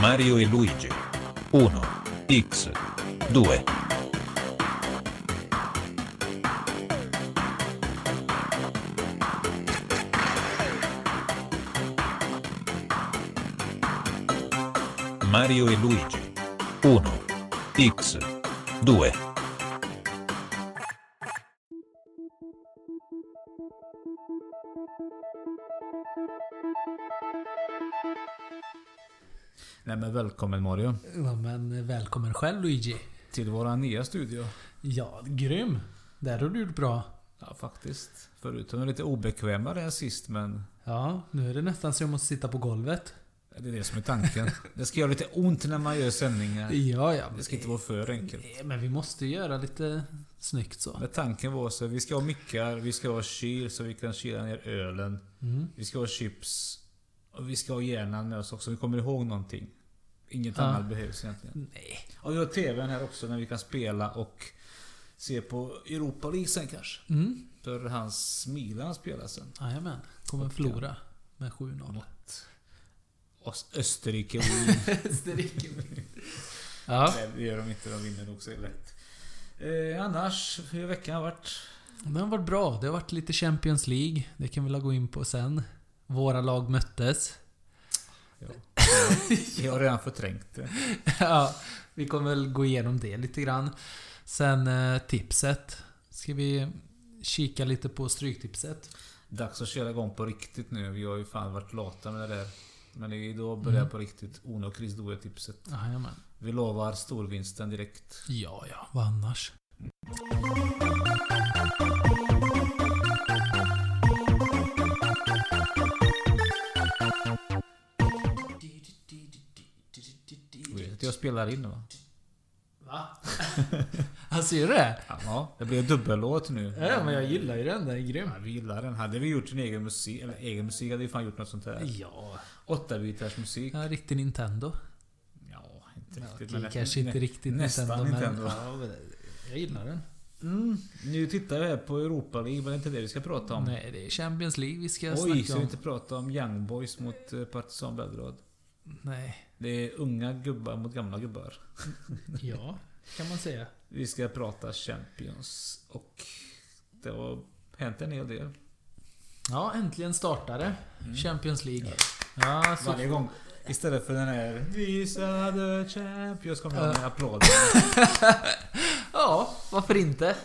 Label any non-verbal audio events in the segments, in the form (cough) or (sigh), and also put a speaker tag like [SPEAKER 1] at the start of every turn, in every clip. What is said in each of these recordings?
[SPEAKER 1] Mario e Luigi. 1. X. 2. Mario e Luigi. 1. X. 2.
[SPEAKER 2] Nej men välkommen Mario.
[SPEAKER 3] Ja, men välkommen själv Luigi.
[SPEAKER 2] Till våran nya studio.
[SPEAKER 3] Ja, grym. Där har du gjort bra.
[SPEAKER 2] Ja faktiskt. Förut var den lite obekvämare än sist men
[SPEAKER 3] Ja, nu är det nästan så jag måste sitta på golvet.
[SPEAKER 2] det är det som är tanken. Det ska göra lite ont när man gör sändningar.
[SPEAKER 3] Ja, ja.
[SPEAKER 2] Det ska inte vara för enkelt.
[SPEAKER 3] Nej, Men vi måste ju göra lite snyggt så.
[SPEAKER 2] Men tanken var så, vi ska ha mickar, vi ska ha kyl så vi kan kyla ner ölen.
[SPEAKER 3] Mm.
[SPEAKER 2] Vi ska ha chips. Och vi ska ha hjärnan med oss också, vi kommer ihåg någonting. Inget
[SPEAKER 3] Ja.
[SPEAKER 2] annat behövs egentligen.
[SPEAKER 3] Nej.
[SPEAKER 2] Och vi har TVn här också när vi kan spela och se på Europa League sen kanske.
[SPEAKER 3] Mm.
[SPEAKER 2] För hans Milan spelar sen.
[SPEAKER 3] Jajamän. Kommer förlora med 7-0.
[SPEAKER 2] Mot Ös- Österrike
[SPEAKER 3] (laughs)
[SPEAKER 2] och Wien.
[SPEAKER 3] Österrike. ja,
[SPEAKER 2] Nej, det gör de inte. De vinner nog så lätt. Eh, annars, hur veckan har varit?
[SPEAKER 3] den har varit bra. Det har varit lite Champions League. Det kan vi väl gå in på sen. Våra lag möttes.
[SPEAKER 2] Jag har redan förträngt det.
[SPEAKER 3] (laughs) ja, vi kommer väl gå igenom det lite grann. Sen eh, tipset. Ska vi kika lite på stryktipset?
[SPEAKER 2] Dags att köra igång på riktigt nu. Vi har ju fan varit lata med det där. Men det är idag börjar
[SPEAKER 3] Mm.
[SPEAKER 2] på riktigt. Ono och Chris Doe tipset.
[SPEAKER 3] Jajamän.
[SPEAKER 2] Vi lovar storvinsten direkt.
[SPEAKER 3] Ja, ja. Vad annars?
[SPEAKER 2] Jag spelar in va?
[SPEAKER 3] (laughs) Va? alltså är det?
[SPEAKER 2] Ja, det blir dubbellåt nu.
[SPEAKER 3] Ja, men jag gillar ju den. Den är grym.
[SPEAKER 2] Ja, vi gillar den. Hade vi gjort en egen musik, eller egen musik hade vi fan gjort något sånt här.
[SPEAKER 3] Ja.
[SPEAKER 2] Åtta bitars musik.
[SPEAKER 3] ja riktig Nintendo.
[SPEAKER 2] Ja, inte
[SPEAKER 3] Ja,
[SPEAKER 2] riktigt.
[SPEAKER 3] okej,
[SPEAKER 2] men
[SPEAKER 3] kanske inte
[SPEAKER 2] nä-
[SPEAKER 3] riktigt
[SPEAKER 2] nästan
[SPEAKER 3] Nintendo, men-
[SPEAKER 2] Nintendo.
[SPEAKER 3] Ja, men jag gillar den.
[SPEAKER 2] Mm. Nu tittar vi här på Europa League, men det är inte det vi ska prata om.
[SPEAKER 3] Nej, det är Champions League vi ska
[SPEAKER 2] Oj,
[SPEAKER 3] snacka
[SPEAKER 2] ska
[SPEAKER 3] om.
[SPEAKER 2] vi inte prata om Young Boys mot eh, Partizan Belgrad?
[SPEAKER 3] Nej.
[SPEAKER 2] Det är unga gubbar mot gamla gubbar.
[SPEAKER 3] (laughs) Ja, kan man säga.
[SPEAKER 2] Vi ska prata Champions och det har hänt en hel del.
[SPEAKER 3] Ja, äntligen startade Champions League. Mm. Ja, så
[SPEAKER 2] Varje gång. Istället för den här Visa the Champions kommer jag med (laughs) applåder.
[SPEAKER 3] ja varför inte?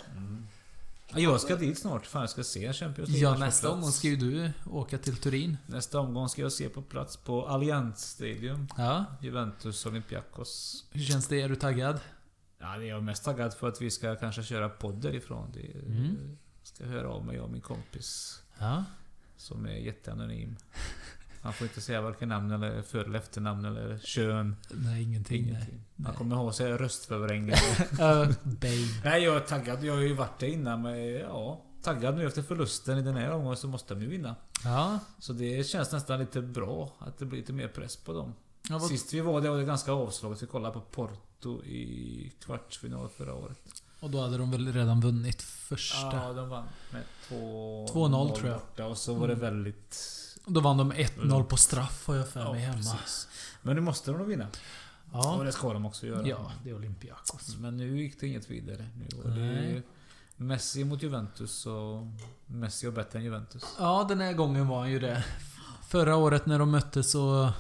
[SPEAKER 2] Ja, Jag ska dit snart. Fan, jag ska se Champions League.
[SPEAKER 3] Ja,
[SPEAKER 2] match på
[SPEAKER 3] nästa
[SPEAKER 2] plats.
[SPEAKER 3] omgång ska ju du åka till Turin.
[SPEAKER 2] Nästa omgång ska jag se på plats på Allianz Stadium.
[SPEAKER 3] Ja,
[SPEAKER 2] Juventus Olympiakos.
[SPEAKER 3] hur känns det? Är du taggad?
[SPEAKER 2] Ja, det är jag mest taggad för att vi ska kanske köra podd därifrån. Det
[SPEAKER 3] Mm.
[SPEAKER 2] ska höra av mig, jag och min kompis.
[SPEAKER 3] Ja.
[SPEAKER 2] Som är jätteanonym. Han får inte säga varken namn eller för eller efternamn eller kön.
[SPEAKER 3] Nej, ingenting. (laughs) Nej.
[SPEAKER 2] Ingenting. Han kommer ha sig
[SPEAKER 3] (laughs)
[SPEAKER 2] röstförvrängning.
[SPEAKER 3] Uh, babe.
[SPEAKER 2] Nej, jag är taggad. Jag har ju varit där innan men ja... Taggad nu efter förlusten i den här omgången så måste de ju vinna.
[SPEAKER 3] Ja.
[SPEAKER 2] Så det känns nästan lite bra att det blir lite mer press på dem.
[SPEAKER 3] ja vad,
[SPEAKER 2] Sist vi var där var det ganska avslaget. Vi kollade på Porto i kvartsfinal förra året.
[SPEAKER 3] och då hade de väl redan vunnit första.
[SPEAKER 2] Ja, de vann med
[SPEAKER 3] 2-0 tror jag. Mm.
[SPEAKER 2] borta och så var det väldigt...
[SPEAKER 3] Då vann de 1-0 på straff har jag för
[SPEAKER 2] Ja,
[SPEAKER 3] mig hemma.
[SPEAKER 2] precis. Men nu måste de nog vinna. Och
[SPEAKER 3] Ja.
[SPEAKER 2] det ska de också göra.
[SPEAKER 3] ja, det är Olympiakos.
[SPEAKER 2] Men nu gick det inget vidare. Nu var det
[SPEAKER 3] Nej.
[SPEAKER 2] ju Messi mot Juventus och Messi var bättre än Juventus.
[SPEAKER 3] Ja, den här gången var han ju det. Förra året när de möttes så,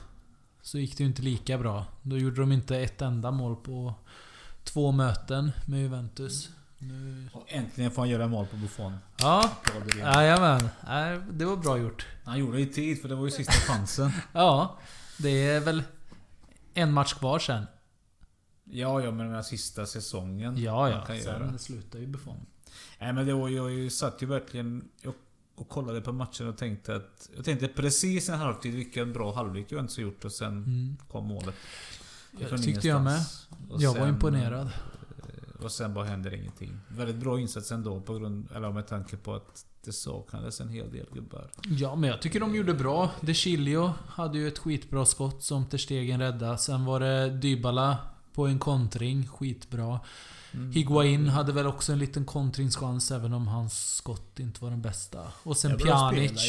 [SPEAKER 3] så gick det ju inte lika bra. Då gjorde de inte ett enda mål på två möten med Juventus. Nu...
[SPEAKER 2] Och äntligen får han göra mål på Buffon.
[SPEAKER 3] Ja,
[SPEAKER 2] Applåder igen.
[SPEAKER 3] jajamän. Nej, Det var bra gjort.
[SPEAKER 2] Han gjorde det i tid för det var ju sista chansen.
[SPEAKER 3] Ja, det är väl en match kvar sen.
[SPEAKER 2] Ja, ja men den här sista säsongen.
[SPEAKER 3] Ja,
[SPEAKER 2] han kan
[SPEAKER 3] ja.
[SPEAKER 2] göra.
[SPEAKER 3] Sen slutar ju Buffon.
[SPEAKER 2] Nej men det var ju, jag ju- satt ju verkligen och, och kollade på matchen och tänkte att... Jag tänkte precis en halvtid vilken bra halvlek jag inte gjort och sen
[SPEAKER 3] Mm.
[SPEAKER 2] kom målet.
[SPEAKER 3] Jag
[SPEAKER 2] Från
[SPEAKER 3] tyckte jag med.
[SPEAKER 2] ingenstans. Och
[SPEAKER 3] Jag var
[SPEAKER 2] sen- eh,
[SPEAKER 3] imponerad.
[SPEAKER 2] Och sen bara händer ingenting. Väldigt bra insats ändå på grund... Eller med tanke på att det saknades en hel del gubbar.
[SPEAKER 3] Ja, men jag tycker de gjorde bra. De Chilio hade ju ett skitbra skott som Ter Stegen räddade. Sen var det Dybala på en kontring. Skitbra. Mm. Higuain hade väl också en liten kontringschans även om hans skott inte var den bästa. Och sen Pjanic.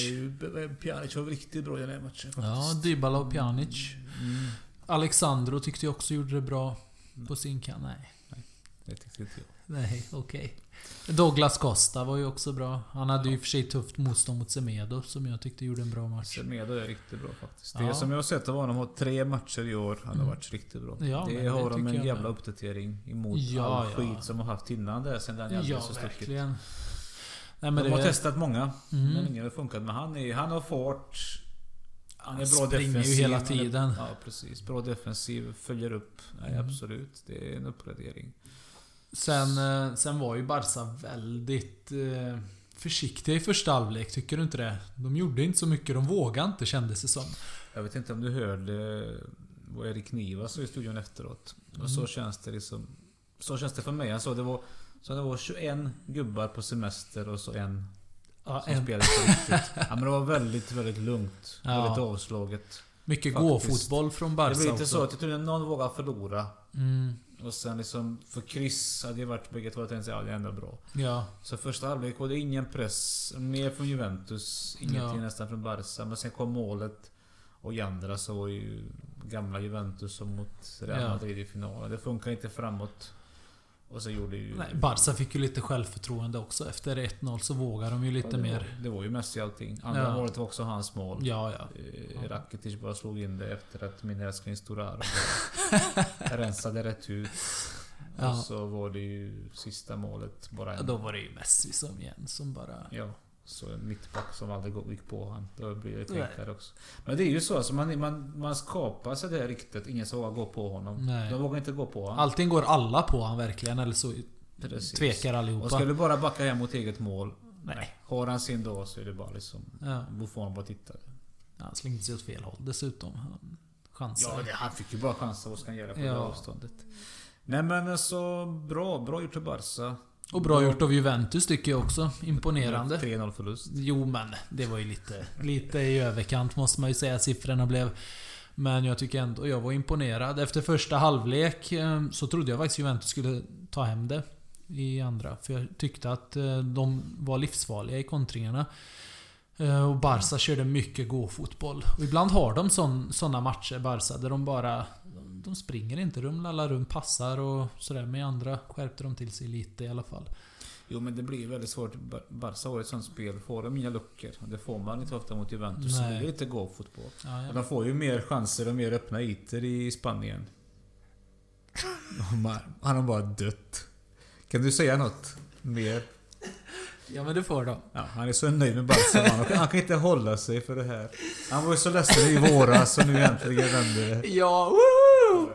[SPEAKER 2] Pjanic var riktigt bra i den här matchen Mm,
[SPEAKER 3] Ja, Dybala och Pjanic. Alexandro tyckte jag också gjorde det bra på sin kant. Nej.
[SPEAKER 2] Det tyckte inte jag.
[SPEAKER 3] Nej, okej. Douglas Costa var ju också bra. Han hade ju i och för sig tufft motstånd mot Semedo som jag tyckte gjorde en bra match.
[SPEAKER 2] Semedo är riktigt bra faktiskt.
[SPEAKER 3] Ja. Mm.
[SPEAKER 2] Det som jag har sett av honom har tre matcher i år. Han har varit riktigt bra.
[SPEAKER 3] Ja, men
[SPEAKER 2] det
[SPEAKER 3] det
[SPEAKER 2] har de
[SPEAKER 3] tycker
[SPEAKER 2] en
[SPEAKER 3] jag
[SPEAKER 2] jävla
[SPEAKER 3] med.
[SPEAKER 2] uppdatering emot
[SPEAKER 3] Ja,
[SPEAKER 2] all
[SPEAKER 3] ja.
[SPEAKER 2] skit som de har haft innan det. Sen den jävla
[SPEAKER 3] Ja,
[SPEAKER 2] så stucket.
[SPEAKER 3] verkligen. Nej, men
[SPEAKER 2] De har
[SPEAKER 3] det,
[SPEAKER 2] testat många,
[SPEAKER 3] Mm.
[SPEAKER 2] men ingen har funkat. Men han, är, han har fart. Han
[SPEAKER 3] Han
[SPEAKER 2] är bra
[SPEAKER 3] springer ju
[SPEAKER 2] defensiv.
[SPEAKER 3] hela
[SPEAKER 2] han är-
[SPEAKER 3] tiden. Mm.
[SPEAKER 2] Ja, precis. Bra defensiv, följer upp. Nej, absolut. Det är en uppgradering.
[SPEAKER 3] sen, eh, sen var ju Barca väldigt eh, försiktiga i första halvlek. Tycker du inte det? De gjorde inte så mycket. De vågade inte kändes det som.
[SPEAKER 2] Jag vet inte om du hörde vad Erik Niva sa i studion efteråt. Och
[SPEAKER 3] Mm.
[SPEAKER 2] så känns det liksom... Så känns det för mig. Han sa det var, så det var 21 gubbar på semester och så en
[SPEAKER 3] Ja,
[SPEAKER 2] som
[SPEAKER 3] en,
[SPEAKER 2] spelade på riktigt. Ja, men det var väldigt, väldigt lugnt.
[SPEAKER 3] Ja.
[SPEAKER 2] Väldigt avslaget.
[SPEAKER 3] mycket
[SPEAKER 2] faktiskt.
[SPEAKER 3] gåfotboll från
[SPEAKER 2] Det
[SPEAKER 3] Barca
[SPEAKER 2] blir lite
[SPEAKER 3] också.
[SPEAKER 2] så att jag tror att någon vågar förlora.
[SPEAKER 3] Mm,
[SPEAKER 2] Och sen liksom, för Chris hade ju varit bägge två, jag tänkte ja det är ändå bra.
[SPEAKER 3] ja.
[SPEAKER 2] Så första halvlek var det ingen press. Mer från Juventus, ingenting
[SPEAKER 3] Ja.
[SPEAKER 2] nästan från Barca. Men sen kom målet. Och Jandra så var ju gamla Juventus som mot
[SPEAKER 3] Ja.
[SPEAKER 2] Real Madrid i finalen. Det funkar inte framåt. Och så gjorde ju...
[SPEAKER 3] Nej, Barca fick ju lite självförtroende också. Efter 1-0 så vågar de ju
[SPEAKER 2] Ja,
[SPEAKER 3] lite
[SPEAKER 2] det
[SPEAKER 3] mer.
[SPEAKER 2] Var, det var ju Messi allting. Andra
[SPEAKER 3] Ja.
[SPEAKER 2] målet var också hans mål.
[SPEAKER 3] Ja, ja.
[SPEAKER 2] Eh,
[SPEAKER 3] Ja.
[SPEAKER 2] Rakitic bara slog in det efter att min älskling Storaro
[SPEAKER 3] (laughs)
[SPEAKER 2] rensade rätt ut.
[SPEAKER 3] Ja.
[SPEAKER 2] Och så var det ju sista målet bara
[SPEAKER 3] Ja,
[SPEAKER 2] en
[SPEAKER 3] Då var det ju Messi som igen som bara...
[SPEAKER 2] Ja, så en mittback som aldrig gå- gick på han. Då blir det knäckare också. Men det är ju så, alltså, man, man, man skapar sig det här ryktet. Ingen som vågar gå på honom.
[SPEAKER 3] Nej.
[SPEAKER 2] De vågar inte gå på honom.
[SPEAKER 3] Allting går alla på han verkligen, eller så
[SPEAKER 2] Precis.
[SPEAKER 3] tvekar
[SPEAKER 2] Och
[SPEAKER 3] allihopa.
[SPEAKER 2] ska du bara backa hem mot eget mål.
[SPEAKER 3] Nej.
[SPEAKER 2] Har han sin dag så är det bara liksom...
[SPEAKER 3] Ja.
[SPEAKER 2] Buffon bara tittar.
[SPEAKER 3] Alltså, Han slängde sig åt fel håll dessutom. Han
[SPEAKER 2] Ja,
[SPEAKER 3] chansade.
[SPEAKER 2] det, han fick ju bara chansen. Vad ska han göra på
[SPEAKER 3] Ja.
[SPEAKER 2] det avståndet? Nej men alltså, bra. Bra gjort av Barca.
[SPEAKER 3] Och bra gjort av Juventus tycker jag också. Imponerande.
[SPEAKER 2] 3-0 förlust.
[SPEAKER 3] Jo men, det var ju lite, lite i överkant måste man ju säga siffrorna blev. Men jag tycker ändå jag var imponerad. Efter första halvlek eh, så trodde jag faktiskt Juventus skulle ta hem det i andra. För jag tyckte att eh, de var livsfarliga i kontringarna. Eh, Och Barca körde mycket gåfotboll. Och ibland har de sådana matcher, Barca, där de bara... de- De springer inte, rumlar runt, passar och sådär. Men i andra skärpte de till sig lite i alla fall.
[SPEAKER 2] Jo men det blir väldigt svårt. Bar- Barca har ett sånt spel. Får de inga luckor. Det får man inte ofta mot Juventus. Så
[SPEAKER 3] Nej.
[SPEAKER 2] blir det lite gå-fotboll.
[SPEAKER 3] Ja,
[SPEAKER 2] Och
[SPEAKER 3] ja.
[SPEAKER 2] De får ju mer chanser och mer öppna ytor
[SPEAKER 3] (laughs)
[SPEAKER 2] i Spanien. De har- Han har bara dött. Kan du säga något mer?
[SPEAKER 3] ja men det får de.
[SPEAKER 2] Ja, han är så nöjd med Barca. man. Han kan- han kan inte hålla sig för det här. Han var ju så ledsen i våras och nu äntligen vänder det.
[SPEAKER 3] Ja, woho!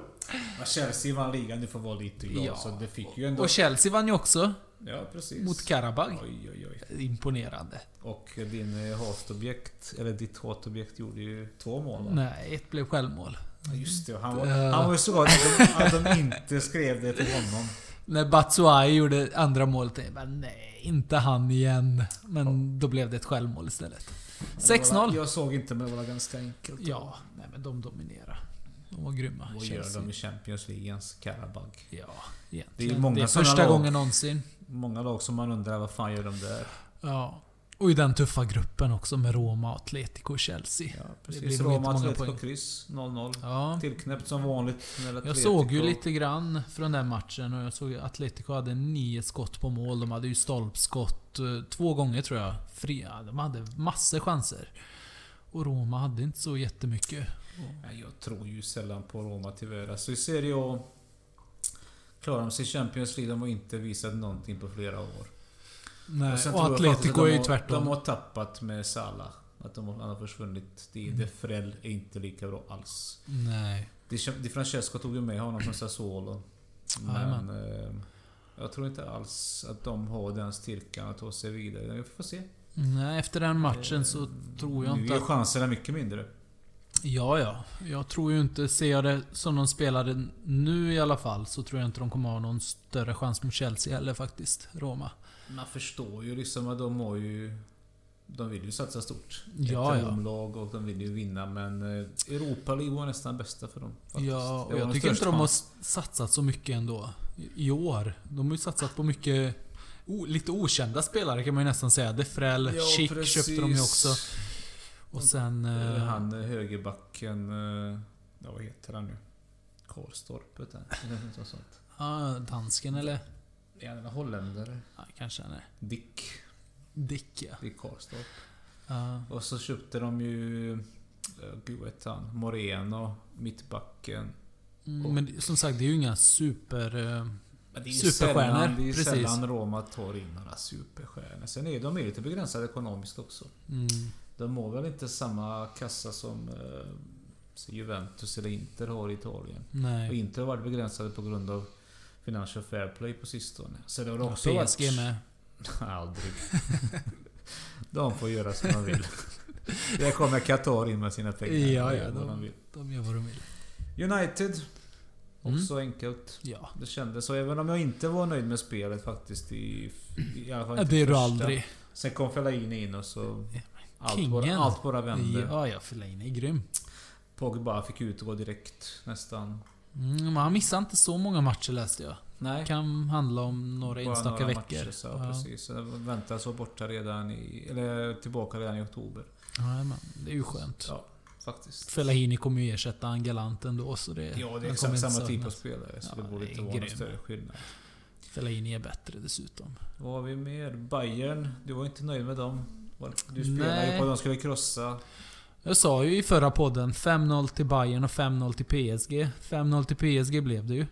[SPEAKER 2] Ja, Chelsea vann ligan, du får vara lite glad.
[SPEAKER 3] Ja.
[SPEAKER 2] Så det fick ju ändå...
[SPEAKER 3] Och Chelsea vann ju också
[SPEAKER 2] Ja, precis.
[SPEAKER 3] mot Karabag.
[SPEAKER 2] Oj, oj, oj.
[SPEAKER 3] Imponerande.
[SPEAKER 2] Och din eh, hatobjekt, eller ditt hatobjekt gjorde ju två mål va?
[SPEAKER 3] Nej, ett blev självmål.
[SPEAKER 2] Ja, Just det, han var,
[SPEAKER 3] Eh.
[SPEAKER 2] han var ju så glad att de, att de inte skrev det till honom.
[SPEAKER 3] När Batshuayi gjorde andra målet, jag bara, nej, inte han igen. Men då blev det ett självmål istället. 6-0.
[SPEAKER 2] Jag såg inte men det var ganska enkelt.
[SPEAKER 3] Ja, nej men de dominerar. De var grymma.
[SPEAKER 2] Vad gör
[SPEAKER 3] Chelsea.
[SPEAKER 2] de i Champions League ens Karabag?
[SPEAKER 3] Ja,
[SPEAKER 2] Det är ju
[SPEAKER 3] egentligen.
[SPEAKER 2] många
[SPEAKER 3] Det är
[SPEAKER 2] såna
[SPEAKER 3] första
[SPEAKER 2] lag.
[SPEAKER 3] gången någonsin.
[SPEAKER 2] Många lag som man undrar vad fan gör de där?
[SPEAKER 3] Ja. Och i den tuffa gruppen också med Roma, Atletico och Chelsea.
[SPEAKER 2] Ja,
[SPEAKER 3] blir nog
[SPEAKER 2] precis.
[SPEAKER 3] inte
[SPEAKER 2] Roma,
[SPEAKER 3] många
[SPEAKER 2] Atletico,
[SPEAKER 3] poäng.
[SPEAKER 2] kryss 0-0.
[SPEAKER 3] Ja.
[SPEAKER 2] Tillknäppt som vanligt. när
[SPEAKER 3] Jag
[SPEAKER 2] Atletico-
[SPEAKER 3] såg ju lite grann från den matchen och jag såg att Atletico hade nio skott på mål. De hade ju stolpskott eh, två gånger tror jag. Fria. De hade massor chanser. Och Roma hade inte så jättemycket.
[SPEAKER 2] Nej, jag tror ju sällan på Roma tyvärr. Alltså i Serie A klarar de sig i Champions League. De har inte visat någonting på flera år.
[SPEAKER 3] Nej,
[SPEAKER 2] sen
[SPEAKER 3] och,
[SPEAKER 2] tror jag faktiskt
[SPEAKER 3] Atletico
[SPEAKER 2] att
[SPEAKER 3] är
[SPEAKER 2] de
[SPEAKER 3] ju
[SPEAKER 2] har-
[SPEAKER 3] tvärtom.
[SPEAKER 2] De har tappat med Salah. Att de har, han har försvunnit. Det är De Frell är inte lika bra alls.
[SPEAKER 3] Nej.
[SPEAKER 2] Di Di Francesco tog ju med honom från Sassuolo. Men...
[SPEAKER 3] Jajamän.
[SPEAKER 2] Eh, jag tror inte alls att de har den styrkan att ta sig vidare. Vi får se.
[SPEAKER 3] Nej, efter den matchen så tror jag
[SPEAKER 2] Nu är
[SPEAKER 3] inte
[SPEAKER 2] ju
[SPEAKER 3] att...
[SPEAKER 2] chanserna mycket mindre.
[SPEAKER 3] Ja, ja. Jag tror ju inte... Ser jag det som de spelade nu i alla fall så tror jag inte de kommer ha någon större chans mot Chelsea heller faktiskt. Roma.
[SPEAKER 2] Man förstår ju liksom att de har ju... De vill ju satsa stort.
[SPEAKER 3] Ja,
[SPEAKER 2] Ett
[SPEAKER 3] ja.
[SPEAKER 2] omlag och de vill ju vinna men... eh, Europa League var nästan bästa för dem. faktiskt.
[SPEAKER 3] Ja,
[SPEAKER 2] Det
[SPEAKER 3] och
[SPEAKER 2] var
[SPEAKER 3] jag
[SPEAKER 2] den
[SPEAKER 3] tycker inte
[SPEAKER 2] största
[SPEAKER 3] de har
[SPEAKER 2] chansen.
[SPEAKER 3] satsat så mycket ändå. i- I år. De har ju satsat på mycket... O, lite okända spelare kan man ju nästan säga. Defrell,
[SPEAKER 2] Ja,
[SPEAKER 3] Schick köpte de ju också.
[SPEAKER 2] precis.
[SPEAKER 3] Och sen...
[SPEAKER 2] Eh,
[SPEAKER 3] eh,
[SPEAKER 2] Han eh, högerbacken... eh, Ja, vad heter han nu? Karlstorp. Vet jag. Eller något sånt.
[SPEAKER 3] Ja, dansken eller?
[SPEAKER 2] Är han en holländare?
[SPEAKER 3] Ja, kanske han är.
[SPEAKER 2] Dick.
[SPEAKER 3] Dick ja.
[SPEAKER 2] Dick Karlstorp.
[SPEAKER 3] Ja.
[SPEAKER 2] Och så köpte de ju... eh, Gud vet han. Moreno, mittbacken.
[SPEAKER 3] Mm, men det- som sagt, det är ju inga super... eh,
[SPEAKER 2] Men det är ju
[SPEAKER 3] Superstjärnor,
[SPEAKER 2] sällan, det är ju
[SPEAKER 3] precis.
[SPEAKER 2] sällan Roma tar in några superstjärnor. Sen är de ju lite begränsade ekonomiskt också.
[SPEAKER 3] Mm.
[SPEAKER 2] De har väl inte samma kassa som eh, Juventus eller Inter har i Italien. Och
[SPEAKER 3] Nej.
[SPEAKER 2] Inter har varit begränsade på grund av Financial Fair Play på sistone. Så det har också
[SPEAKER 3] PSG
[SPEAKER 2] varit...
[SPEAKER 3] med.
[SPEAKER 2] (laughs) Aldrig. (laughs) de får göra som
[SPEAKER 3] (laughs)
[SPEAKER 2] de vill. Där kommer Qatar in med sina pengar.
[SPEAKER 3] Ja,
[SPEAKER 2] och
[SPEAKER 3] ja,
[SPEAKER 2] gör vad de vill.
[SPEAKER 3] De gör vad de vill.
[SPEAKER 2] United.
[SPEAKER 3] Mm.
[SPEAKER 2] Också enkelt.
[SPEAKER 3] Ja.
[SPEAKER 2] Det kändes så. Även om jag inte var nöjd med spelet faktiskt i... i alla fall
[SPEAKER 3] Ja,
[SPEAKER 2] inte
[SPEAKER 3] Det är du
[SPEAKER 2] första.
[SPEAKER 3] aldrig.
[SPEAKER 2] Sen kom Fellaini in och så... Allt
[SPEAKER 3] Kingen.
[SPEAKER 2] bara, allt bara vände.
[SPEAKER 3] Ja, ja. Fellaini är grym.
[SPEAKER 2] Pogba fick utgå direkt nästan.
[SPEAKER 3] Mm, men han missar inte så många matcher läste jag.
[SPEAKER 2] Nej.
[SPEAKER 3] Kan handla om några
[SPEAKER 2] Bara
[SPEAKER 3] enstaka
[SPEAKER 2] några
[SPEAKER 3] veckor.
[SPEAKER 2] Matcher, så,
[SPEAKER 3] ja.
[SPEAKER 2] precis. Så Väntas vara borta redan i... Eller tillbaka redan i oktober.
[SPEAKER 3] Ja, men det är ju skönt.
[SPEAKER 2] Ja, faktiskt.
[SPEAKER 3] Fellaini kommer ju ersätta han galant ändå, så det...
[SPEAKER 2] Ja, det är
[SPEAKER 3] han
[SPEAKER 2] exakt
[SPEAKER 3] kommer inte
[SPEAKER 2] samma typ av
[SPEAKER 3] saknas.
[SPEAKER 2] spelare. Så
[SPEAKER 3] Ja,
[SPEAKER 2] det borde
[SPEAKER 3] det är
[SPEAKER 2] inte vara någon
[SPEAKER 3] grym.
[SPEAKER 2] större skillnad.
[SPEAKER 3] Fellaini är bättre dessutom.
[SPEAKER 2] Vad har vi mer? Bayern. Du var inte nöjd med dem. Du
[SPEAKER 3] Nej.
[SPEAKER 2] spelade ju på att de skulle krossa.
[SPEAKER 3] Jag sa ju i förra podden 5-0 till Bayern och 5-0 till PSG. 5-0 till PSG blev det ju.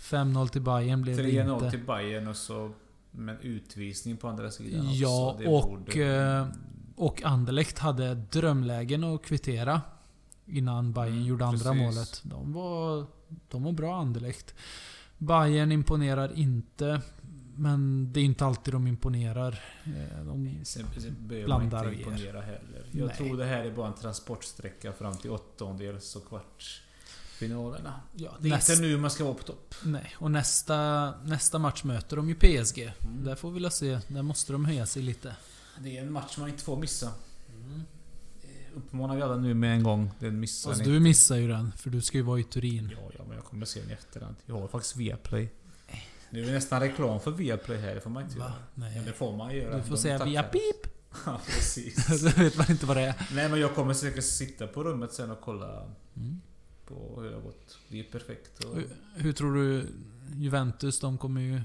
[SPEAKER 3] 5-0 till Bayern blev det
[SPEAKER 2] 3-0
[SPEAKER 3] inte.
[SPEAKER 2] till Bayern och så... Men utvisning på andra sidan
[SPEAKER 3] Ja,
[SPEAKER 2] också. Det
[SPEAKER 3] och,
[SPEAKER 2] borde-
[SPEAKER 3] eh, Och Anderlecht hade drömlägen att kvittera. Innan Bayern
[SPEAKER 2] Mm,
[SPEAKER 3] gjorde andra
[SPEAKER 2] precis.
[SPEAKER 3] målet. De var, de var bra Anderlecht. Bayern imponerar inte. Men det är inte alltid de imponerar. Eh, De,
[SPEAKER 2] Sen sen behöver
[SPEAKER 3] Blandar
[SPEAKER 2] man
[SPEAKER 3] och ger.
[SPEAKER 2] inte imponera heller. Jag
[SPEAKER 3] Nej.
[SPEAKER 2] tror det här är bara en transportsträcka fram till åttondels och kvartsfinalerna.
[SPEAKER 3] ja,
[SPEAKER 2] Det är
[SPEAKER 3] näst-
[SPEAKER 2] inte nu man ska vara på topp.
[SPEAKER 3] Nej, och nästa, nästa match möter de ju PSG.
[SPEAKER 2] Mm.
[SPEAKER 3] Där får vi väl se. Där måste de höja sig lite.
[SPEAKER 2] Det är en match man inte får missa.
[SPEAKER 3] Mm.
[SPEAKER 2] Eh, Uppmanar vi alla nu med en gång. Den missar
[SPEAKER 3] Fast
[SPEAKER 2] ni.
[SPEAKER 3] du missar ju den, för du ska ju vara i Turin.
[SPEAKER 2] Ja, ja, men jag kommer se den i efterhand. Jag har faktiskt Viaplay. Nu är det nästan reklam för Viaplay här. Det får man inte
[SPEAKER 3] Eh. Va?
[SPEAKER 2] göra. Men det
[SPEAKER 3] Nej.
[SPEAKER 2] får man göra.
[SPEAKER 3] Du får
[SPEAKER 2] De
[SPEAKER 3] säga
[SPEAKER 2] tackar
[SPEAKER 3] via
[SPEAKER 2] oss.
[SPEAKER 3] pip.
[SPEAKER 2] (laughs)
[SPEAKER 3] (laughs)
[SPEAKER 2] Ja, precis.
[SPEAKER 3] Så vet man inte vad det är.
[SPEAKER 2] Nej, men jag kommer säkert sitta på rummet sen och kolla
[SPEAKER 3] Mm.
[SPEAKER 2] på hur det har gått. Det är ju perfekt. Och...
[SPEAKER 3] Hur, hur tror du Juventus, de kommer ju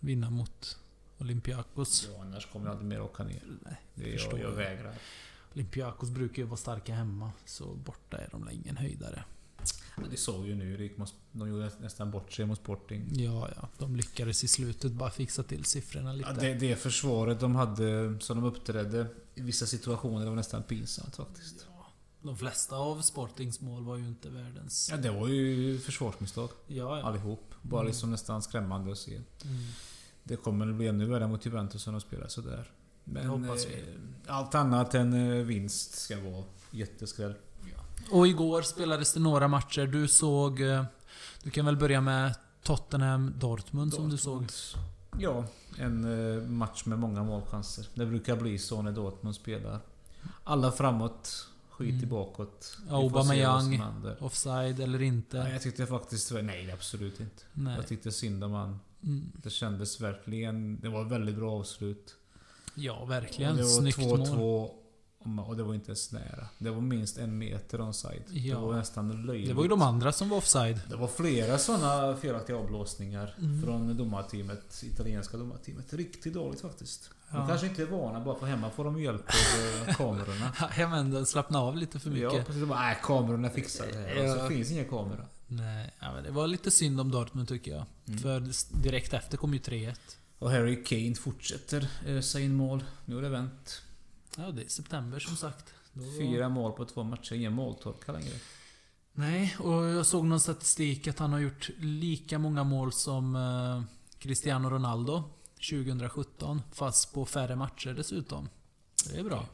[SPEAKER 3] vinna mot Olympiakos.
[SPEAKER 2] Ja, annars kommer jag aldrig mer åka ner.
[SPEAKER 3] Nej,
[SPEAKER 2] Det är
[SPEAKER 3] förstår
[SPEAKER 2] jag, jag
[SPEAKER 3] jag.
[SPEAKER 2] vägrar.
[SPEAKER 3] Olympiakos brukar ju vara starka hemma, så borta är de ingen höjdare.
[SPEAKER 2] Det såg ju nu. det gick mot- De gjorde nästan bort sig mot Sporting.
[SPEAKER 3] Ja, ja. De lyckades i slutet bara fixa till siffrorna lite.
[SPEAKER 2] Ja, det, det försvaret de hade, som de uppträdde i vissa situationer, det var nästan pinsamt faktiskt.
[SPEAKER 3] De flesta av Sportings mål var ju inte världens...
[SPEAKER 2] Ja, det var ju försvarsmisstag
[SPEAKER 3] Ja, ja.
[SPEAKER 2] allihop. Bara
[SPEAKER 3] Mm.
[SPEAKER 2] liksom nästan skrämmande att se.
[SPEAKER 3] Mm.
[SPEAKER 2] Det kommer att bli ännu värre mot Juventus om de spelar sådär. Men
[SPEAKER 3] Det hoppas vi.
[SPEAKER 2] eh, allt annat än eh, vinst ska vara jätteskräll.
[SPEAKER 3] Och igår spelades det några matcher. Du såg... eh, Du kan väl börja med Tottenham Dortmund, som du såg?
[SPEAKER 2] Ja, en eh, match med många målchanser. Det brukar bli så när Dortmund spelar. Alla framåt, skit i
[SPEAKER 3] Mm.
[SPEAKER 2] bakåt.
[SPEAKER 3] Ja,
[SPEAKER 2] Vi får se vad som
[SPEAKER 3] Aubameyang.
[SPEAKER 2] händer.
[SPEAKER 3] Offside eller inte?
[SPEAKER 2] Nej, jag tyckte faktiskt... Nej, absolut inte.
[SPEAKER 3] Nej.
[SPEAKER 2] Jag tyckte synd om han.
[SPEAKER 3] Mm.
[SPEAKER 2] Det kändes verkligen... Det var ett väldigt bra avslut.
[SPEAKER 3] Ja,
[SPEAKER 2] Och
[SPEAKER 3] verkligen.
[SPEAKER 2] det var
[SPEAKER 3] Snyggt mål.
[SPEAKER 2] 2-2. Och det var inte ens nära. Det var minst en meter onside.
[SPEAKER 3] Ja.
[SPEAKER 2] Det var nästan löjligt.
[SPEAKER 3] Det var ju de andra som var offside. (laughs)
[SPEAKER 2] Det var flera sådana felaktiga avblåsningar
[SPEAKER 3] Mm.
[SPEAKER 2] från domarteamet, italienska domarteamet. Riktigt dåligt faktiskt.
[SPEAKER 3] Ja.
[SPEAKER 2] De kanske inte är vana, bara för hemma får de hjälp
[SPEAKER 3] (laughs)
[SPEAKER 2] av eh, kamerorna.
[SPEAKER 3] Jag menar, slappna av lite för mycket.
[SPEAKER 2] Ja, precis. De bara, nej kamerorna fixar det här. Och
[SPEAKER 3] Ja.
[SPEAKER 2] så finns inga kameror.
[SPEAKER 3] Nej, ja, men det var lite synd om Dortmund tycker jag.
[SPEAKER 2] Mm.
[SPEAKER 3] För direkt efter kom ju 3-1.
[SPEAKER 2] Och Harry Kane fortsätter ösa in mål. Nu har det vänt.
[SPEAKER 3] Ja, det är september som sagt. Då-
[SPEAKER 2] Fyra mål på två matcher. Ingen måltorka längre.
[SPEAKER 3] Nej, och jag såg någon statistik att han har gjort lika många mål som eh, Cristiano Ronaldo 2017. Fast på färre matcher dessutom. Det är bra.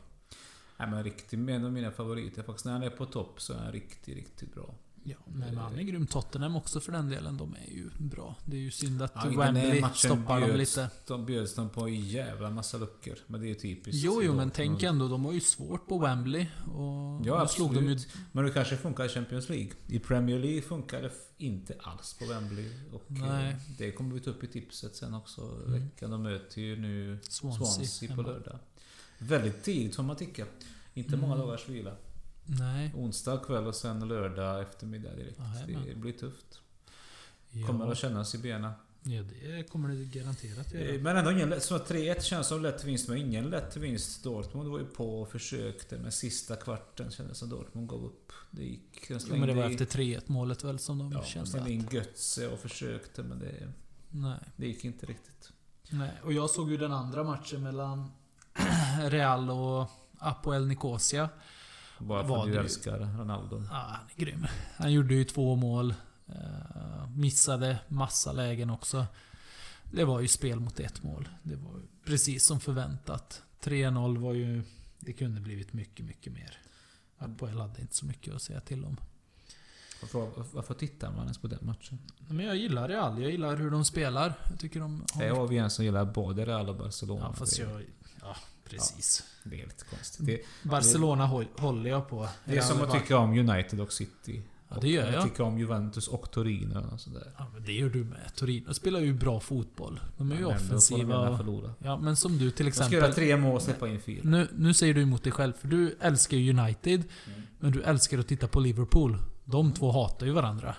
[SPEAKER 2] Nej men riktigt, en av mina favoriter faktiskt. När han är på topp så är han riktigt, riktigt bra.
[SPEAKER 3] Ja, nej, men han är grym. Tottenham också för den delen. De är ju bra. Det är ju synd att
[SPEAKER 2] Ja, den
[SPEAKER 3] Wembley
[SPEAKER 2] matchen
[SPEAKER 3] stoppar dem
[SPEAKER 2] bjöds-
[SPEAKER 3] lite.
[SPEAKER 2] De bjöds de på en jävla massa luckor. Men det är ju typiskt.
[SPEAKER 3] Jo, jo, men
[SPEAKER 2] Dortmund.
[SPEAKER 3] tänk ändå. De har ju svårt på Wembley. Och
[SPEAKER 2] Ja,
[SPEAKER 3] nu slog de ju...
[SPEAKER 2] absolut. Men det kanske funkar i Champions League. I Premier League funkar det f- inte alls på Wembley. Och
[SPEAKER 3] Nej.
[SPEAKER 2] eh, Det kommer vi ta upp i tipset sen också.
[SPEAKER 3] Mm.
[SPEAKER 2] Veckan. De möter ju nu
[SPEAKER 3] Swansea,
[SPEAKER 2] Swansea, på
[SPEAKER 3] hemma.
[SPEAKER 2] lördag. Väldigt tidigt får man tycka. Inte
[SPEAKER 3] Mm.
[SPEAKER 2] många dagars vila.
[SPEAKER 3] Nej.
[SPEAKER 2] Onsdag kväll och sen lördag eftermiddag direkt.
[SPEAKER 3] Jajamän.
[SPEAKER 2] det blir tufft.
[SPEAKER 3] Ja,
[SPEAKER 2] Kommer att kännas i benen.
[SPEAKER 3] ja, det kommer det garanterat göra.
[SPEAKER 2] Eh, Men ändå ingen lätt... Så 3-1 känns som lätt vinst, men ingen lätt vinst. Dortmund var ju på och försökte, men sista kvarten kändes som Dortmund gav upp. Det gick... De
[SPEAKER 3] Ja, men det var efter 3-1 målet väl som de
[SPEAKER 2] Ja, de
[SPEAKER 3] kände att...
[SPEAKER 2] slängde in Götze och försökte, men det,
[SPEAKER 3] Nej.
[SPEAKER 2] det gick inte riktigt.
[SPEAKER 3] Nej, och jag såg ju den andra matchen mellan (clears throat) Real och Apoel Nicosia.
[SPEAKER 2] Bara för
[SPEAKER 3] Var
[SPEAKER 2] att du
[SPEAKER 3] det-
[SPEAKER 2] älskar Ronaldo.
[SPEAKER 3] Ja, han är grym. Han gjorde ju två mål. eh, Missade massa lägen också. Det var ju spel mot ett mål. Det var ju precis som förväntat. 3-0 var ju... Det kunde blivit mycket, mycket mer. Apoel hade inte så mycket att säga till om.
[SPEAKER 2] Varför, varför tittar man ens på den matchen?
[SPEAKER 3] Men jag gillar Real. Jag gillar hur de spelar. Jag tycker de har...
[SPEAKER 2] Det är vi en som gillar både Real och Barcelona.
[SPEAKER 3] ja, fast
[SPEAKER 2] det,
[SPEAKER 3] jag... Ja, precis.
[SPEAKER 2] det är lite konstigt. Det,
[SPEAKER 3] Barcelona håll- håller jag på.
[SPEAKER 2] det är som
[SPEAKER 3] Real
[SPEAKER 2] att
[SPEAKER 3] var-
[SPEAKER 2] tycka om United och City.
[SPEAKER 3] Ja, det gör
[SPEAKER 2] och,
[SPEAKER 3] jag.
[SPEAKER 2] Jag tycker om Juventus och Torino och sådär.
[SPEAKER 3] Ja, men det gör du med. Torino spelar ju bra fotboll. De är ju
[SPEAKER 2] Men ändå får de
[SPEAKER 3] offensiva.
[SPEAKER 2] gärna
[SPEAKER 3] och-
[SPEAKER 2] förlora.
[SPEAKER 3] Ja, men som du till
[SPEAKER 2] De ska göra
[SPEAKER 3] exempel.
[SPEAKER 2] tre mål och släppa in fyra.
[SPEAKER 3] Nu, nu säger du emot dig själv, för du älskar ju United.
[SPEAKER 2] Mm.
[SPEAKER 3] Men du älskar att titta på Liverpool. De två hatar ju varandra.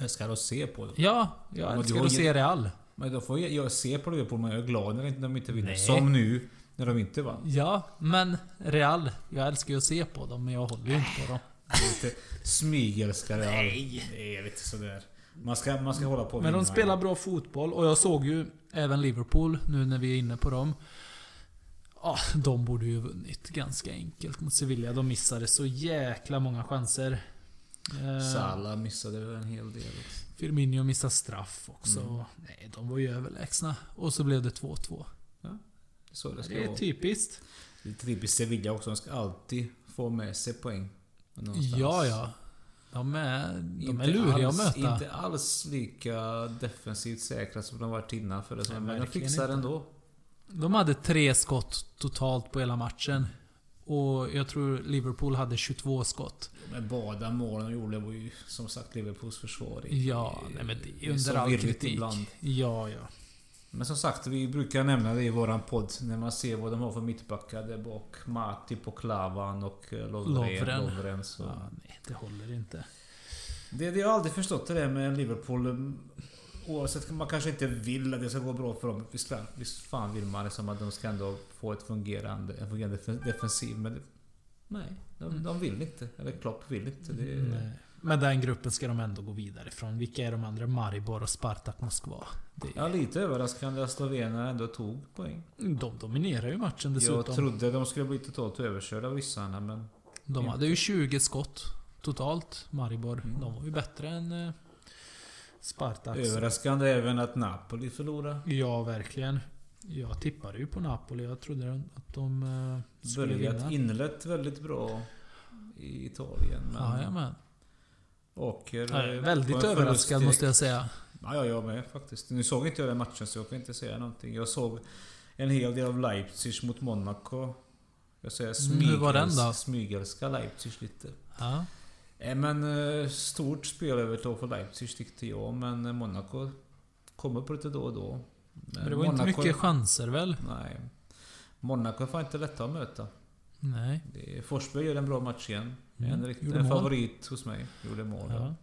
[SPEAKER 2] Jag ska då se på dem.
[SPEAKER 3] Ja, jag
[SPEAKER 2] men du
[SPEAKER 3] älskar
[SPEAKER 2] har
[SPEAKER 3] att
[SPEAKER 2] ingen-
[SPEAKER 3] se Real.
[SPEAKER 2] Men då får jag, jag se på Liverpool, men jag är glad när inte- de inte vinner.
[SPEAKER 3] Nej.
[SPEAKER 2] Som nu, när de inte vann.
[SPEAKER 3] Ja, men Real. Jag älskar ju att se på dem, men jag håller ju inte på dem.
[SPEAKER 2] Lite
[SPEAKER 3] (laughs)
[SPEAKER 2] smygälskare. Nej! Det är lite sådär. Man ska, man ska hålla på och
[SPEAKER 3] Men de
[SPEAKER 2] vinna.
[SPEAKER 3] spelar bra fotboll och jag såg ju även Liverpool nu när vi är inne på dem. Ja, de borde ju ha vunnit ganska enkelt mot Sevilla. De missade så jäkla många chanser. Eh,
[SPEAKER 2] Salah missade väl en hel del också.
[SPEAKER 3] Firmino missade straff också.
[SPEAKER 2] Mm.
[SPEAKER 3] Nej, de var ju överlägsna. Och så blev det 2-2.
[SPEAKER 2] Så det ska
[SPEAKER 3] Det är typ-
[SPEAKER 2] vara.
[SPEAKER 3] typiskt.
[SPEAKER 2] Det är typiskt Sevilla också. De ska alltid få med sig poäng. någonstans.
[SPEAKER 3] Ja, ja. De är, de är
[SPEAKER 2] Inte
[SPEAKER 3] luriga
[SPEAKER 2] alls,
[SPEAKER 3] att möta.
[SPEAKER 2] Inte alls lika defensivt säkra som de varit innan för det.
[SPEAKER 3] Nej,
[SPEAKER 2] Men de
[SPEAKER 3] verkligen
[SPEAKER 2] fixar
[SPEAKER 3] inte.
[SPEAKER 2] ändå.
[SPEAKER 3] De hade tre skott totalt på hela matchen. Och jag tror Liverpool hade 22 skott.
[SPEAKER 2] Men båda målen de gjorde var ju som sagt Liverpools försvar. i-
[SPEAKER 3] Ja, nej men det är
[SPEAKER 2] är
[SPEAKER 3] under
[SPEAKER 2] så
[SPEAKER 3] all
[SPEAKER 2] virrigt
[SPEAKER 3] kritik.
[SPEAKER 2] ibland.
[SPEAKER 3] Ja, ja.
[SPEAKER 2] Men som sagt, vi brukar nämna det i våran podd. När man ser vad de har för mittbackar där bak. Matip och Klavan och eh,
[SPEAKER 3] Lovren.
[SPEAKER 2] Lovren. Lovren så.
[SPEAKER 3] ja nej, det håller inte.
[SPEAKER 2] Mm. Det, det jag har aldrig förstått det där med Liverpool. mm, Oavsett, man kanske inte vill att det ska gå bra för dem. Visst, fan- visst fan vill man liksom att de ska ändå få ett fungerande, en fungerande defen- defensiv. Men det, nej, de, de vill inte. Eller Klopp vill inte. Det,
[SPEAKER 3] Mm. Nej. Men den gruppen ska de ändå gå vidare ifrån. Vilka är de andra? Maribor och Spartak Moskva. Det,
[SPEAKER 2] Ja, lite överraskande att slovenerna ändå tog poäng.
[SPEAKER 3] De dominerar ju matchen dessutom.
[SPEAKER 2] Jag trodde de skulle bli totalt överkörda av ryssarna, men...
[SPEAKER 3] de hade ju 20 skott totalt, Maribor.
[SPEAKER 2] Mm.
[SPEAKER 3] De var ju bättre än eh, Spartak.
[SPEAKER 2] Överraskande även att Napoli förlorade.
[SPEAKER 3] Ja, verkligen. Jag tippade ju på Napoli. Jag trodde att de eh, skulle
[SPEAKER 2] Börjat,
[SPEAKER 3] vinna.
[SPEAKER 2] inlett väldigt bra i Italien, men...
[SPEAKER 3] Jajamän.
[SPEAKER 2] åker...
[SPEAKER 3] Jag är
[SPEAKER 2] eh,
[SPEAKER 3] Väldigt
[SPEAKER 2] på en
[SPEAKER 3] överraskad
[SPEAKER 2] förlust
[SPEAKER 3] måste jag säga.
[SPEAKER 2] Ja, ja, jag med faktiskt. Nu såg inte jag den matchen så jag kan inte säga någonting. Jag såg en hel del av Leipzig mot Monaco. Jag säger
[SPEAKER 3] Mm, hur var den då?
[SPEAKER 2] smygels- smygelska Leipzig lite.
[SPEAKER 3] Ja.
[SPEAKER 2] Eh, Men eh, stort spelövertag för Leipzig tyckte jag, men eh, Monaco kommer på lite då och då.
[SPEAKER 3] Men det var inte mycket chanser väl?
[SPEAKER 2] Nej. Monaco är fan inte lätta att möta.
[SPEAKER 3] Nej.
[SPEAKER 2] Det är, Forsberg gör en bra match igen.
[SPEAKER 3] Mm,
[SPEAKER 2] En, riktig,
[SPEAKER 3] gjorde
[SPEAKER 2] en
[SPEAKER 3] mål.
[SPEAKER 2] favorit hos mig. Gjorde mål. ja.
[SPEAKER 3] Ja.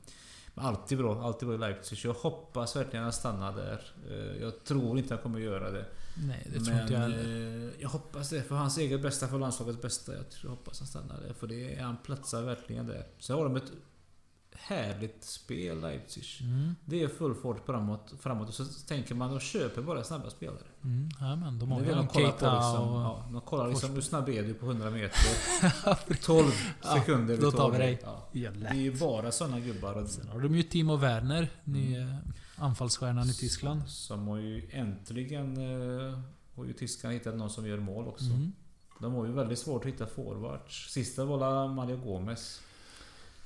[SPEAKER 2] Men Alltid bra, alltid bra i Leipzig. Jag hoppas verkligen att han stannar där. Eh, Jag tror inte han kommer göra det.
[SPEAKER 3] Nej, det tror inte jag heller.
[SPEAKER 2] eh, jag hoppas det. För hans eget bästa, för landslagets bästa. Jag tror- jag hoppas han stannar där. För det är, han platsar verkligen där. Sen har de ett härligt spel, Leipzig.
[SPEAKER 3] Mm,
[SPEAKER 2] Det är full fart framåt, framåt. Och så tänker man, de köper bara snabba spelare.
[SPEAKER 3] mm, ja, men de har
[SPEAKER 2] Det är
[SPEAKER 3] ju
[SPEAKER 2] det de
[SPEAKER 3] en
[SPEAKER 2] kollar
[SPEAKER 3] Keita
[SPEAKER 2] på liksom.
[SPEAKER 3] och...
[SPEAKER 2] Ja, de kollar liksom,
[SPEAKER 3] Forsberg.
[SPEAKER 2] hur snabb är du på
[SPEAKER 3] (laughs)
[SPEAKER 2] 100 meter? 12 sekunder.
[SPEAKER 3] då tar vi dig.
[SPEAKER 2] Ja. Det är
[SPEAKER 3] Jävlar.
[SPEAKER 2] ju bara såna gubbar. Och,
[SPEAKER 3] Sen har de ju Timo Werner, ny
[SPEAKER 2] Mm.
[SPEAKER 3] eh, anfallsstjärnan i Tyskland.
[SPEAKER 2] Som har ju äntligen... Eh, har ju tyskarna hittat någon som gör mål också.
[SPEAKER 3] Mm.
[SPEAKER 2] De har ju väldigt svårt att hitta forwards. Sista var la Mario Gomez.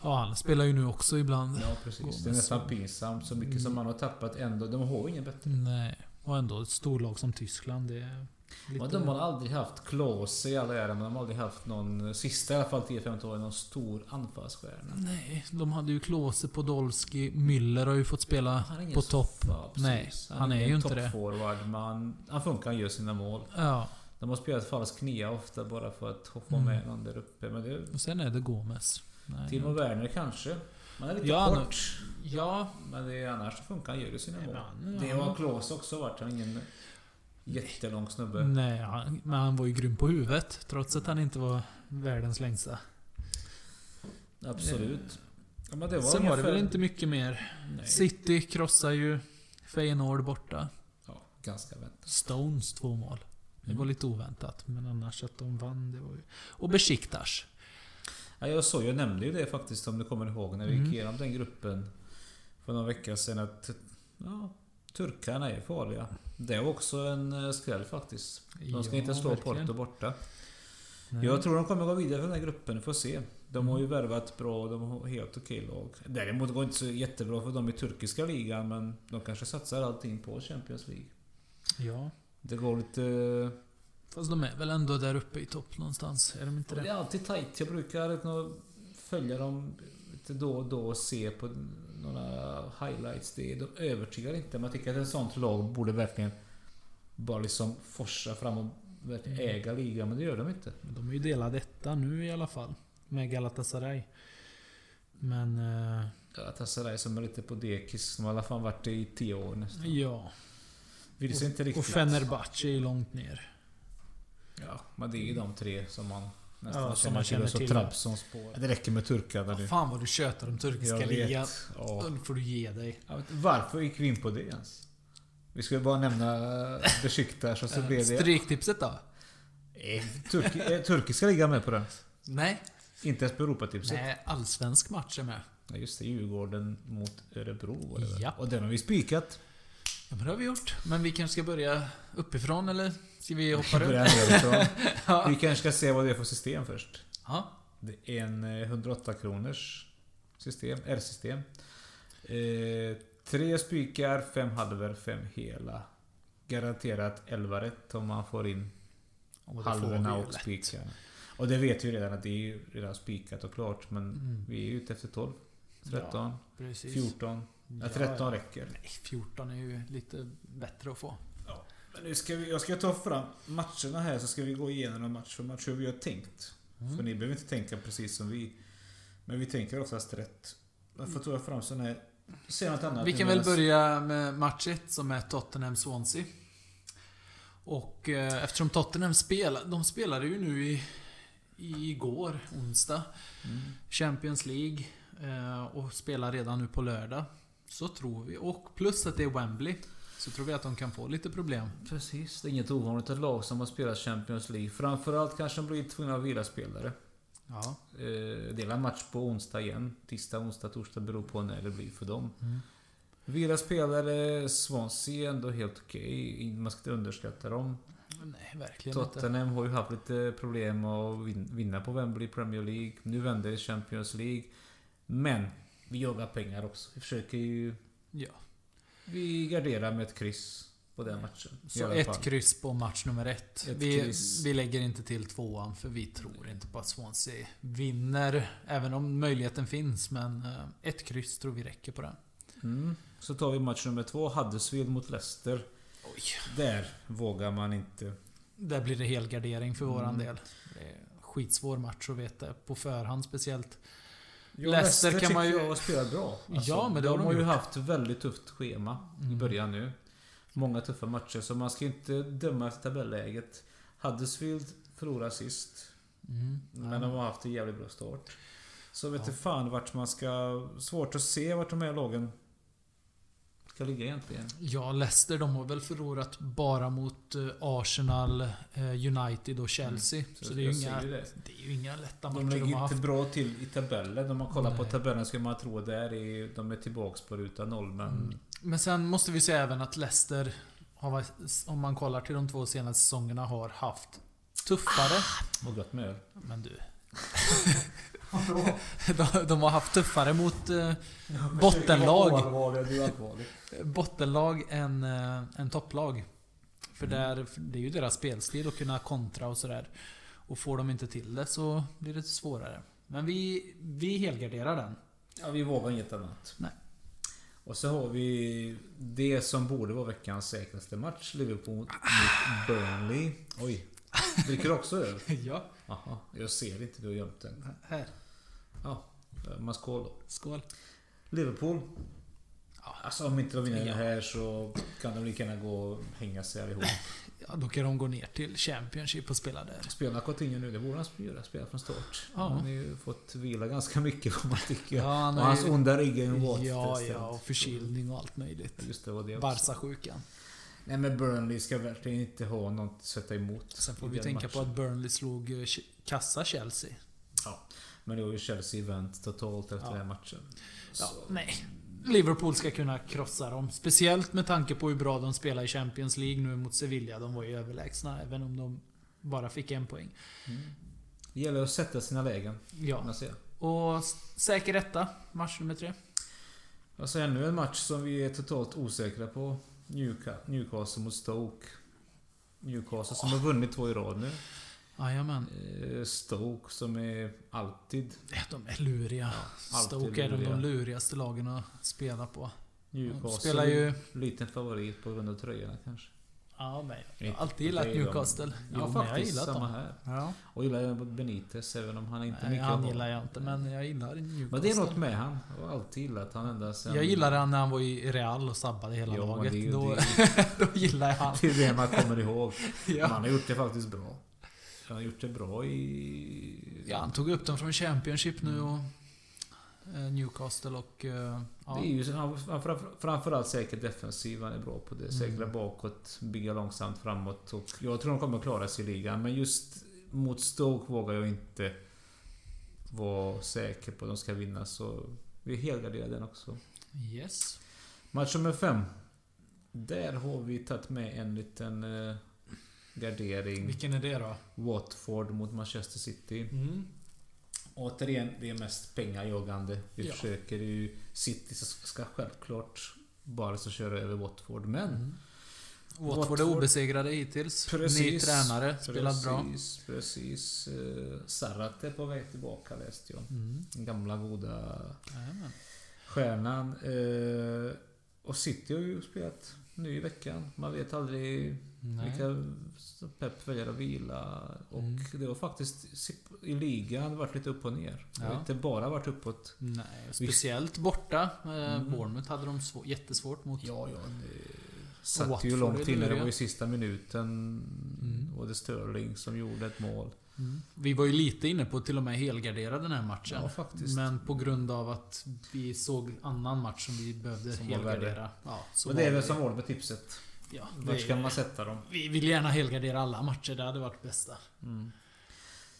[SPEAKER 3] Ja, han spelar ju nu också ibland.
[SPEAKER 2] Ja precis.
[SPEAKER 3] Gomez.
[SPEAKER 2] Det är nästan pinsamt. Så mycket
[SPEAKER 3] Mm.
[SPEAKER 2] som man har tappat ändå. De har ju ingen bättre.
[SPEAKER 3] Nej. Och ändå ett storlag som Tyskland, det är lite...
[SPEAKER 2] Och de har aldrig haft Klose i alla ära, men de har aldrig haft någon, sista i alla fall 10-15 åren, någon stor anfallsstjärna.
[SPEAKER 3] Nej, de hade ju Klose, Podolski, Müller har ju fått spela
[SPEAKER 2] Han är ingen
[SPEAKER 3] på topp.
[SPEAKER 2] Ja, precis.
[SPEAKER 3] Nej, han är
[SPEAKER 2] ingen
[SPEAKER 3] ju inte det.
[SPEAKER 2] toppforward, men han- han funkar, han gör sina mål.
[SPEAKER 3] Ja.
[SPEAKER 2] De har spelat falsk nia ofta
[SPEAKER 3] Mm.
[SPEAKER 2] bara för att få med någon där uppe. Men det,
[SPEAKER 3] Och sen är det Gomes. Nej,
[SPEAKER 2] Timo Werner kanske. Man är lite
[SPEAKER 3] Mm. Ja,
[SPEAKER 2] kort.
[SPEAKER 3] Ja,
[SPEAKER 2] Men det är, annars så funkar han ju i sina mål.
[SPEAKER 3] men-
[SPEAKER 2] Det har Klose också varit. Han är ingen jättelång snubbe.
[SPEAKER 3] nej, han, men han var ju grym på huvudet. Trots att han inte var världens längsta.
[SPEAKER 2] Absolut. Ja, men det
[SPEAKER 3] Sen
[SPEAKER 2] var
[SPEAKER 3] var det
[SPEAKER 2] ungefär-
[SPEAKER 3] väl inte mycket mer.
[SPEAKER 2] Nej.
[SPEAKER 3] City krossar ju Feyenoord borta.
[SPEAKER 2] Ja, ganska väntat.
[SPEAKER 3] Stones två mål. Det var
[SPEAKER 2] Mm.
[SPEAKER 3] lite oväntat, men annars att de vann, det var ju... Och Besiktas.
[SPEAKER 2] Ja, jag såg, jag nämnde ju det faktiskt om du kommer ihåg när vi
[SPEAKER 3] Mm.
[SPEAKER 2] gick igenom den gruppen för någon vecka sedan att ja, turkarna är farliga. Det var också en eh, skräll faktiskt. De ska
[SPEAKER 3] Ja,
[SPEAKER 2] inte slå
[SPEAKER 3] verkligen.
[SPEAKER 2] Porto borta.
[SPEAKER 3] Nej.
[SPEAKER 2] Jag tror de kommer gå vidare från den här gruppen, får se. De har ju värvat bra, de har helt okej lag. Däremot går det inte så jättebra för dem i turkiska ligan men de kanske satsar allting på Champions League.
[SPEAKER 3] Ja.
[SPEAKER 2] Det går lite...
[SPEAKER 3] Fast de är väl ändå där uppe i topp någonstans? Är de inte
[SPEAKER 2] Det
[SPEAKER 3] det?
[SPEAKER 2] är alltid tight. Jag brukar nog följa dem lite då och då och se på några highlights. Det är, de övertygar inte, men jag tycker att ett sånt lag borde verkligen bara liksom forsa fram och verkligen äga ligan, men det gör de inte.
[SPEAKER 3] Men De är ju delade etta nu i alla fall. Med Galatasaray. Men... eh,
[SPEAKER 2] Galatasaray som är lite på dekis, de har i alla fall varit det i tio år nästan.
[SPEAKER 3] ja.
[SPEAKER 2] Vill sig inte
[SPEAKER 3] Och
[SPEAKER 2] riktigt.
[SPEAKER 3] Fenerbahce är ju långt ner.
[SPEAKER 2] Ja, men det är ju de tre som man nästan
[SPEAKER 3] Ja, som
[SPEAKER 2] känner,
[SPEAKER 3] man känner
[SPEAKER 2] till.
[SPEAKER 3] till.
[SPEAKER 2] Och så Trabzonspor. Det räcker med turkarna nu.
[SPEAKER 3] Fan vad du tjötar om turkiska
[SPEAKER 2] Jag vet.
[SPEAKER 3] ligan.
[SPEAKER 2] Ja.
[SPEAKER 3] Den får du ge dig.
[SPEAKER 2] Ja, men Varför gick vi in på det ens? Vi skulle bara nämna eh, Besiktas och så blev det...
[SPEAKER 3] Stryktipset då?
[SPEAKER 2] Eh, Turk, eh, turkiska ligan med på den.
[SPEAKER 3] Nej.
[SPEAKER 2] Inte ens på Europatipset.
[SPEAKER 3] Nej, allsvensk match är med.
[SPEAKER 2] Ja, just det, Djurgården mot Örebro var det väl?
[SPEAKER 3] Ja.
[SPEAKER 2] Och den har vi spikat.
[SPEAKER 3] Ja, men det har vi gjort. Men vi kanske ska börja uppifrån eller? Ska vi hoppa
[SPEAKER 2] Vi
[SPEAKER 3] (laughs)
[SPEAKER 2] börjar
[SPEAKER 3] runt?
[SPEAKER 2] nerifrån. Vi kanske ska se vad det är för system först.
[SPEAKER 3] Ja.
[SPEAKER 2] Det är en eh, 108 kronors system, R-system. Eh, tre spikar, fem halver, fem hela. Garanterat 11 rätt om man får in
[SPEAKER 3] Och det får vi
[SPEAKER 2] halvorna
[SPEAKER 3] ju
[SPEAKER 2] och
[SPEAKER 3] lätt.
[SPEAKER 2] spikarna. Och det vet vi redan att det är ju redan spikat och klart. Men
[SPEAKER 3] Mm.
[SPEAKER 2] vi är ute efter 12, 13,
[SPEAKER 3] Precis.
[SPEAKER 2] 14. Ja,
[SPEAKER 3] Ja,
[SPEAKER 2] 13
[SPEAKER 3] ja.
[SPEAKER 2] räcker.
[SPEAKER 3] Nej, 14 är ju lite bättre att få.
[SPEAKER 2] Men nu ska vi, jag ska ta fram matcherna här så ska vi gå igenom dem match för match hur vi har tänkt. För ni behöver inte tänka precis som vi. Men vi tänker oftast rätt. Därför tar jag fram sån här... Säg något annat.
[SPEAKER 3] Vi
[SPEAKER 2] nu
[SPEAKER 3] kan väl
[SPEAKER 2] medans-
[SPEAKER 3] börja med match 1 som är Tottenham-Swansea. Och eh, eftersom Tottenham spelar, de spelade ju nu i, i igår, onsdag, Mm. Champions League eh, och spelar redan nu på lördag. Så tror vi. Och plus att det är Wembley. Så tror vi att de kan få lite problem.
[SPEAKER 2] Precis, det är inget ovanligt att lag som har spelat Champions League. Framförallt kanske de blir tvungna att vila spelare.
[SPEAKER 3] Ja.
[SPEAKER 2] Eh, det är en match på onsdag igen. Tisdag, onsdag, torsdag beror på när det blir för dem. Vila spelare, Swansea är ändå helt okej. Man ska inte underskatta dem.
[SPEAKER 3] Nej, verkligen inte.
[SPEAKER 2] Tottenham har ju haft lite problem att vin- vinna på Wembley i Premier League. Nu vänder det i Champions League. Men vi jagar pengar också. Vi försöker ju...
[SPEAKER 3] Ja.
[SPEAKER 2] Vi garderar med ett kryss på den matchen. i
[SPEAKER 3] Så
[SPEAKER 2] alla
[SPEAKER 3] ett
[SPEAKER 2] fall.
[SPEAKER 3] kryss på match nummer ett.
[SPEAKER 2] Ett
[SPEAKER 3] vi,
[SPEAKER 2] kryss.
[SPEAKER 3] vi lägger inte till tvåan för vi tror inte på att Swansea vinner. Även om möjligheten finns, men eh, ett kryss tror vi räcker på den.
[SPEAKER 2] Mm. Så tar vi match nummer två. Huddersfield mot Leicester.
[SPEAKER 3] Oj.
[SPEAKER 2] Där vågar man inte.
[SPEAKER 3] Där blir det helgardering för våran
[SPEAKER 2] Mm.
[SPEAKER 3] del. Det är en skitsvår match att veta på förhand speciellt.
[SPEAKER 2] Ja,
[SPEAKER 3] Leicester kan
[SPEAKER 2] tycker
[SPEAKER 3] man ju-
[SPEAKER 2] jag har spelat bra. Alltså,
[SPEAKER 3] Ja, men det
[SPEAKER 2] de
[SPEAKER 3] har de
[SPEAKER 2] har ju
[SPEAKER 3] gjort.
[SPEAKER 2] haft väldigt tufft schema i
[SPEAKER 3] Mm.
[SPEAKER 2] början nu. Många tuffa matcher, så man ska ju inte döma efter tabelläget. Huddersfield förlorar sist,
[SPEAKER 3] Mm.
[SPEAKER 2] men de har haft en jävligt bra start. Så vet du fan vart man ska... Svårt att se vart de här lagen ska ligga egentligen.
[SPEAKER 3] Ja, Leicester de har väl förlorat bara mot eh, Arsenal, eh, United och Chelsea. Så, det, är
[SPEAKER 2] Mm. jag
[SPEAKER 3] ju inga,
[SPEAKER 2] ser ju det.
[SPEAKER 3] det är ju inga lätta
[SPEAKER 2] De
[SPEAKER 3] matcher de, har
[SPEAKER 2] ligger
[SPEAKER 3] haft.
[SPEAKER 2] inte bra till i tabellen. Om man kollar på
[SPEAKER 3] Nej.
[SPEAKER 2] tabellen ska man tro där är, de är tillbaks på ruta noll, men...
[SPEAKER 3] Men sen måste vi säga även att Leicester, har, varit- om man kollar till de två senaste säsongerna, har haft tuffare...
[SPEAKER 2] Vad gott med öl.
[SPEAKER 3] Men du. de, de har haft tuffare mot eh,
[SPEAKER 2] Försöker vara
[SPEAKER 3] bottenlag,
[SPEAKER 2] allvarlig, du är allvarlig.
[SPEAKER 3] bottenlag än, eh, än topplag. För där, för det är ju deras spelstil att kunna kontra och sådär. Och får de inte till det så blir det svårare. Men vi, vi helgarderar den.
[SPEAKER 2] Ja, vi vågar inget annat.
[SPEAKER 3] Nej.
[SPEAKER 2] Och så har vi det som borde vara veckans säkraste match. Liverpool mot Burnley. Oj. (laughs) Dricker du också öl?
[SPEAKER 3] ja.
[SPEAKER 2] Jaha, jag ser inte. Du har gömt den.
[SPEAKER 3] Här.
[SPEAKER 2] Ja, eh, jag man skål då.
[SPEAKER 3] Skål.
[SPEAKER 2] Liverpool. Alltså om inte de vinner det
[SPEAKER 3] Ja.
[SPEAKER 2] här så kan de lika gärna gå och hänga sig allihop.
[SPEAKER 3] Ja, då kan de gå ner till Championship och spela där.
[SPEAKER 2] Spela Coutinho nu, det borde han göra. Spela från start.
[SPEAKER 3] Ja.
[SPEAKER 2] Han har ju fått vila ganska mycket får man tycka.
[SPEAKER 3] Ja, han
[SPEAKER 2] och
[SPEAKER 3] har
[SPEAKER 2] hans
[SPEAKER 3] ju-
[SPEAKER 2] onda rygg är ju en våt
[SPEAKER 3] Ja,
[SPEAKER 2] test.
[SPEAKER 3] ja, och förkylning och allt möjligt.
[SPEAKER 2] Just det, var det också.
[SPEAKER 3] Barca-sjukan.
[SPEAKER 2] Nej men Burnley ska verkligen inte ha något att sätta emot.
[SPEAKER 3] Sen får
[SPEAKER 2] i
[SPEAKER 3] vi
[SPEAKER 2] den
[SPEAKER 3] tänka på
[SPEAKER 2] matchen.
[SPEAKER 3] att Burnley slog eh, Ch- kassa Chelsea.
[SPEAKER 2] Ja. Men det var ju Chelsea event totalt efter
[SPEAKER 3] Ja.
[SPEAKER 2] den här matchen.
[SPEAKER 3] Ja,
[SPEAKER 2] Så-
[SPEAKER 3] nej. Liverpool ska kunna krossa dem. Speciellt med tanke på hur bra de spelar i Champions League nu mot Sevilla. De var ju överlägsna, även om de bara fick en poäng.
[SPEAKER 2] mm. Det gäller att sätta sina lägen. kan
[SPEAKER 3] Ja.
[SPEAKER 2] jag säga.
[SPEAKER 3] Och s- säker etta, match nummer tre.
[SPEAKER 2] Alltså ännu en match som vi är totalt osäkra på. Newca- Newcastle mot Stoke. Newcastle som har vunnit två i rad nu.
[SPEAKER 3] Jajamän.
[SPEAKER 2] Eh, Stoke som är alltid...
[SPEAKER 3] De är luriga.
[SPEAKER 2] alltid
[SPEAKER 3] Stoke är de,
[SPEAKER 2] luriga.
[SPEAKER 3] de lurigaste lagen att spela på. De
[SPEAKER 2] Newcastle.
[SPEAKER 3] spelar ju...
[SPEAKER 2] Liten favorit på grund av tröjorna kanske.
[SPEAKER 3] Ja, men jag
[SPEAKER 2] Inte
[SPEAKER 3] har alltid gillat
[SPEAKER 2] det är de-
[SPEAKER 3] Newcastle. Ja, men
[SPEAKER 2] Jo,
[SPEAKER 3] jag har
[SPEAKER 2] faktiskt.
[SPEAKER 3] gillat
[SPEAKER 2] Samma
[SPEAKER 3] dem.
[SPEAKER 2] här.
[SPEAKER 3] Ja.
[SPEAKER 2] Och gillar även Benitez även om han inte är
[SPEAKER 3] Nej,
[SPEAKER 2] mycket
[SPEAKER 3] han
[SPEAKER 2] att ha.
[SPEAKER 3] gillar jag inte, men jag gillar
[SPEAKER 2] Men det är
[SPEAKER 3] Newcastle.
[SPEAKER 2] något med han. Jag har alltid gillat han ända sen...
[SPEAKER 3] Jag
[SPEAKER 2] (laughs)
[SPEAKER 3] gillade han när han var i Real och sabbade hela
[SPEAKER 2] Ja, men
[SPEAKER 3] laget.
[SPEAKER 2] det är ju-
[SPEAKER 3] då,
[SPEAKER 2] det
[SPEAKER 3] (laughs) då gillade jag han.
[SPEAKER 2] Det är det man kommer ihåg. Men
[SPEAKER 3] (laughs) Ja.
[SPEAKER 2] han har gjort det faktiskt bra. Han har gjort det bra i...
[SPEAKER 3] ja, han tog upp dem från Championship nu och eh, Newcastle och... eh, Ja,
[SPEAKER 2] Det är ju han- han- framför- framförallt säkert defensiv han är bra på
[SPEAKER 3] Mm.
[SPEAKER 2] det. Säkra bakåt, bygga långsamt framåt. Och jag tror de kommer klara sig i ligan. Men just mot Stoke vågar jag inte vara säker på att de ska vinna. Så vi helgarderar den också.
[SPEAKER 3] yes.
[SPEAKER 2] Match nummer fem. Där har vi tagit med en liten eh, gardering.
[SPEAKER 3] Vilken är det då?
[SPEAKER 2] Watford mot Manchester City.
[SPEAKER 3] Mm.
[SPEAKER 2] Återigen, det är mest pengajagande. Vi
[SPEAKER 3] Ja.
[SPEAKER 2] försöker ju... City ska självklart bara så köra över Watford, men...
[SPEAKER 3] Watford är
[SPEAKER 2] Watford.
[SPEAKER 3] obesegrade hittills. Ny tränare, spelat bra.
[SPEAKER 2] Precis, precis. Eh, Sarrat är på väg tillbaka läste jag.
[SPEAKER 3] Mm.
[SPEAKER 2] Den gamla goda
[SPEAKER 3] Jajamän.
[SPEAKER 2] stjärnan. Eh, och City har ju spelat nu i veckan. Man vet aldrig
[SPEAKER 3] Nej.
[SPEAKER 2] vilka som Pep väljer att vila. Och
[SPEAKER 3] Mm.
[SPEAKER 2] det var faktiskt... I ligan varit lite upp och ner. Det har
[SPEAKER 3] Ja.
[SPEAKER 2] inte bara varit uppåt.
[SPEAKER 3] Nej, och speciellt borta. Eh, Bournemouth hade de svå- jättesvårt mot.
[SPEAKER 2] Mm. Ja, ja. Det satt
[SPEAKER 3] Watford
[SPEAKER 2] ju långt
[SPEAKER 3] är
[SPEAKER 2] till när det
[SPEAKER 3] luriga. Mm.
[SPEAKER 2] var i sista minuten. Och det Sterling som gjorde ett mål.
[SPEAKER 3] Vi var ju lite inne på att till och med helgardera den här matchen.
[SPEAKER 2] Ja, faktiskt.
[SPEAKER 3] Men på grund av att vi såg annan match som vi behövde
[SPEAKER 2] Som var värre.
[SPEAKER 3] helgardera. Ja, så
[SPEAKER 2] Men det är
[SPEAKER 3] var
[SPEAKER 2] väl som vanligt med tipset.
[SPEAKER 3] Ja,
[SPEAKER 2] Vart
[SPEAKER 3] vi,
[SPEAKER 2] ska man sätta dem?
[SPEAKER 3] vi vill gärna helgardera alla matcher. Det hade varit bästa. Mm.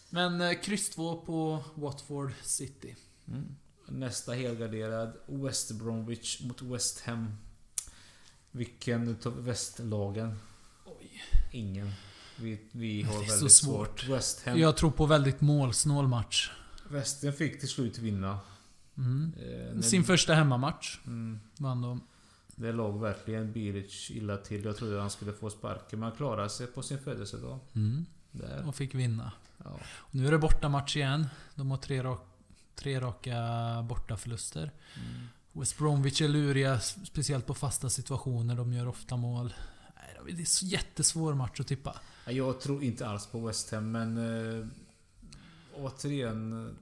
[SPEAKER 3] Men eh, kryss 2 på Watford City.
[SPEAKER 2] Mm. Nästa helgarderad. West Bromwich mot West Ham. Vilken utav västlagen?
[SPEAKER 3] Oj.
[SPEAKER 2] Ingen. Vi, vi har
[SPEAKER 3] Det är så
[SPEAKER 2] väldigt svårt.
[SPEAKER 3] svårt.
[SPEAKER 2] West Ham.
[SPEAKER 3] Jag tror på väldigt målsnål match.
[SPEAKER 2] West Ham fick till slut vinna.
[SPEAKER 3] Mm.
[SPEAKER 2] Eh, när-
[SPEAKER 3] Sin första hemmamatch
[SPEAKER 2] Mm.
[SPEAKER 3] vann de.
[SPEAKER 2] Det låg verkligen Bilic illa till. Jag trodde han skulle få sparken. Men han klarade sig på sin födelsedag.
[SPEAKER 3] Mm.
[SPEAKER 2] Där.
[SPEAKER 3] Och fick vinna.
[SPEAKER 2] Ja.
[SPEAKER 3] Nu är det bortamatch igen. De har tre, rak, tre raka bortaförluster.
[SPEAKER 2] Mm.
[SPEAKER 3] West Bromwich är luriga, speciellt på fasta situationer. De gör ofta mål. Nej, det är en så jättesvår match att tippa.
[SPEAKER 2] Ja, Jag tror inte alls på West Ham, men... Eh, återigen... eh,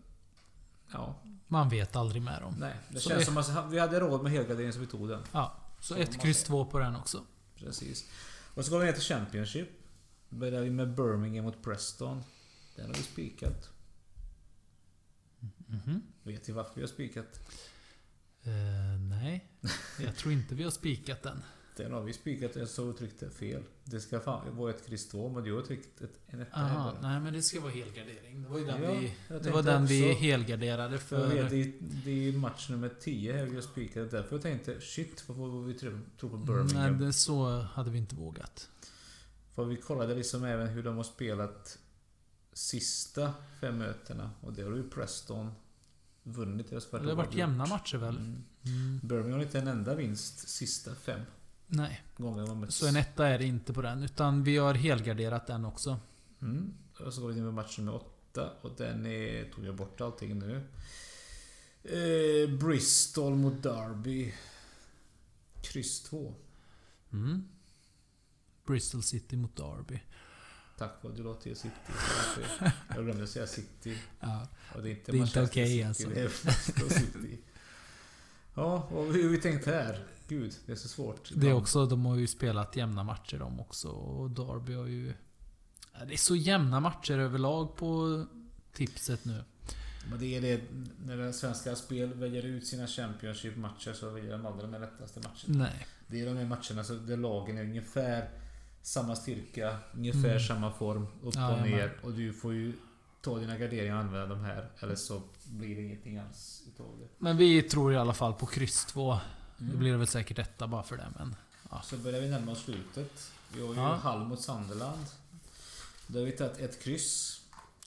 [SPEAKER 2] Ja,
[SPEAKER 3] Man vet aldrig med dem.
[SPEAKER 2] nej. Det
[SPEAKER 3] Så
[SPEAKER 2] känns
[SPEAKER 3] det-
[SPEAKER 2] som att vi hade råd med helgarderingen så vi tog den.
[SPEAKER 3] Ja, så
[SPEAKER 2] får
[SPEAKER 3] ett
[SPEAKER 2] man
[SPEAKER 3] kryss
[SPEAKER 2] säga.
[SPEAKER 3] två på den också.
[SPEAKER 2] Precis. Och så går vi ner till Championship. Börjar vi med Birmingham mot Preston. Den har vi spikat.
[SPEAKER 3] Mhm.
[SPEAKER 2] Vet ni varför vi har spikat?
[SPEAKER 3] Eh, nej, jag tror inte vi har spikat
[SPEAKER 2] (laughs)
[SPEAKER 3] den.
[SPEAKER 2] Den har vi spikat, jag såg och tryckte fel. Det ska fan vara ett kryss 2, men du har tryckt ett, en etta här
[SPEAKER 3] Aha,
[SPEAKER 2] bara.
[SPEAKER 3] nej men det ska vara helgardering. Det var ju den
[SPEAKER 2] Ja,
[SPEAKER 3] vi...
[SPEAKER 2] jag
[SPEAKER 3] Det var
[SPEAKER 2] tänkte
[SPEAKER 3] den vi
[SPEAKER 2] också-
[SPEAKER 3] helgarderade
[SPEAKER 2] För jag
[SPEAKER 3] för...
[SPEAKER 2] vet, det, är, det är match nummer 10 här vi har spikat. Därför jag tänkte shit, varför vi tror tror på Birmingham?
[SPEAKER 3] Nej, det, så hade vi inte vågat.
[SPEAKER 2] För vi kollade liksom även hur de har spelat sista fem mötena. Och det har ju Preston vunnit. deras
[SPEAKER 3] Det
[SPEAKER 2] första
[SPEAKER 3] har varit
[SPEAKER 2] oavgjort.
[SPEAKER 3] jämna matcher väl?
[SPEAKER 2] Mm.
[SPEAKER 3] Mm.
[SPEAKER 2] Birmingham har inte en enda vinst sista fem
[SPEAKER 3] Nej,
[SPEAKER 2] gånger de har mötts.
[SPEAKER 3] så en etta är det inte på den. Utan vi har helgarderat den också.
[SPEAKER 2] Mm. Och så går vi in med match nummer åtta. Och den är... Tog jag bort allting nu. Eh, Bristol mot Derby. Kryss 2.
[SPEAKER 3] Mm. Bristol City mot Derby.
[SPEAKER 2] Tack vare Gelatio City. Jag glömde säga City.
[SPEAKER 3] Ja.
[SPEAKER 2] Och det är inte,
[SPEAKER 3] Det är inte
[SPEAKER 2] Manchester
[SPEAKER 3] okej,
[SPEAKER 2] City,
[SPEAKER 3] alltså.
[SPEAKER 2] Det är Manchester City. Ja, och hur har vi tänkt här? Gud, det är så svårt.
[SPEAKER 3] Det är också, de har ju spelat jämna matcher de också. Och Derby har ju... Ja, Det är så jämna matcher överlag på tipset nu.
[SPEAKER 2] Men det är det, när det svenska spel väljer ut sina Championship-matcher så väljer de aldrig de lättaste matcherna.
[SPEAKER 3] Nej.
[SPEAKER 2] Det är de här matcherna så där lagen är ungefär samma styrka, ungefär
[SPEAKER 3] Mm.
[SPEAKER 2] samma form, upp
[SPEAKER 3] Ja,
[SPEAKER 2] och
[SPEAKER 3] jag
[SPEAKER 2] ner. Och du får ju ta dina garderingar och använda de här. Eller så blir det ingenting alls utav det.
[SPEAKER 3] Men vi tror i alla fall på kryss 2. Det
[SPEAKER 2] Mm.
[SPEAKER 3] blir väl säkert detta bara för det, men...
[SPEAKER 2] Så börjar vi närma oss slutet. Vi har ju
[SPEAKER 3] Ja.
[SPEAKER 2] Hall mot Sunderland. Då har vi tagit ett kryss.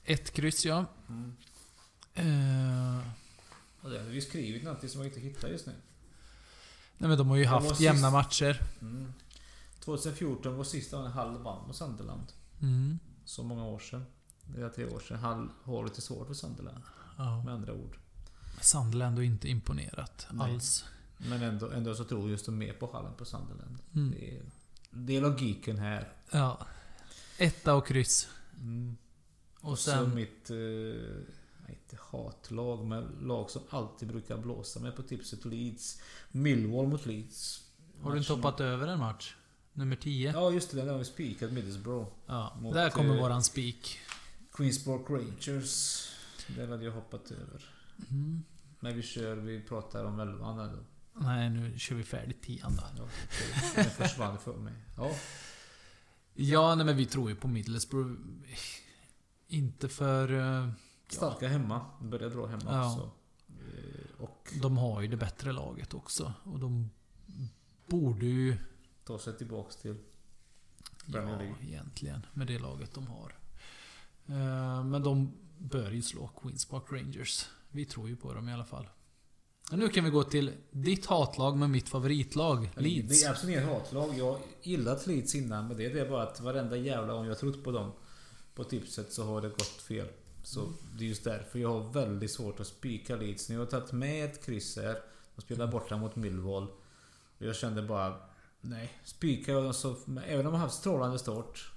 [SPEAKER 2] Mm.
[SPEAKER 3] Ett kryss, ja. Eh,
[SPEAKER 2] Och det har vi skrivit någonting som jag inte hittar just nu.
[SPEAKER 3] nej men de har ju
[SPEAKER 2] var
[SPEAKER 3] haft
[SPEAKER 2] sist.
[SPEAKER 3] jämna matcher.
[SPEAKER 2] Mm. 2014 var sista gången Hall vann mot Sunderland.
[SPEAKER 3] Mm.
[SPEAKER 2] Så många år sedan. Det är tre år sedan. Hall har lite svårt för Sunderland.
[SPEAKER 3] Ja.
[SPEAKER 2] Med andra ord.
[SPEAKER 3] Sunderland har inte imponerat
[SPEAKER 2] Nej.
[SPEAKER 3] alls.
[SPEAKER 2] Men ändå, ändå så tror just de mer på Hall än på Sunderland.
[SPEAKER 3] Mm.
[SPEAKER 2] Det, är, det är logiken här. Mm.
[SPEAKER 3] Ja. Etta och kryss.
[SPEAKER 2] Och,
[SPEAKER 3] Och
[SPEAKER 2] så
[SPEAKER 3] sen...
[SPEAKER 2] mitt... Eh, inte hatlag, men lag som alltid brukar blåsa mig på tipset. Leeds. Millwall mot Leeds.
[SPEAKER 3] Har du inte hoppat över en match? Nummer 10?
[SPEAKER 2] Ja, just det. Den har vi spikat. Middlesbrough.
[SPEAKER 3] Ja,
[SPEAKER 2] Mot,
[SPEAKER 3] där kommer
[SPEAKER 2] eh,
[SPEAKER 3] våran spik.
[SPEAKER 2] Queensborough Rangers. Den hade jag hoppat över.
[SPEAKER 3] Mm.
[SPEAKER 2] Men vi kör, vi pratar om elvan här då.
[SPEAKER 3] Nej, nu kör vi färdigt tian då.
[SPEAKER 2] Ja, okej. Den försvann för mig. Ja.
[SPEAKER 3] Ja, nej men vi tror ju på Middlesbrough. Inte för... eh,
[SPEAKER 2] Starka hemma. Börjar dra hemma
[SPEAKER 3] Ja.
[SPEAKER 2] också. Eh, Och
[SPEAKER 3] De har ju det bättre laget också. Och de borde ju...
[SPEAKER 2] ta sig tillbaks till... Premier
[SPEAKER 3] Ja,
[SPEAKER 2] League.
[SPEAKER 3] egentligen. Med det laget de har. Eh, Men de bör ju slå Queens Park Rangers. Vi tror ju på dem i alla fall. Men nu kan vi gå till ditt hatlag med mitt favoritlag,
[SPEAKER 2] Det
[SPEAKER 3] Leeds.
[SPEAKER 2] är absolut inget hatlag. Jag har gillat Leeds innan men det är det bara att varenda jävla gång jag har trott på dem på tipset så har det gått fel. Så
[SPEAKER 3] Mm.
[SPEAKER 2] det är just därför jag har väldigt svårt att spika Leeds. Nu har jag tagit med ett kryss här. De spelar
[SPEAKER 3] Mm.
[SPEAKER 2] borta mot Millwall. Och jag kände bara... Nej. Spikar jag dem så... men Även om de har haft strålande start.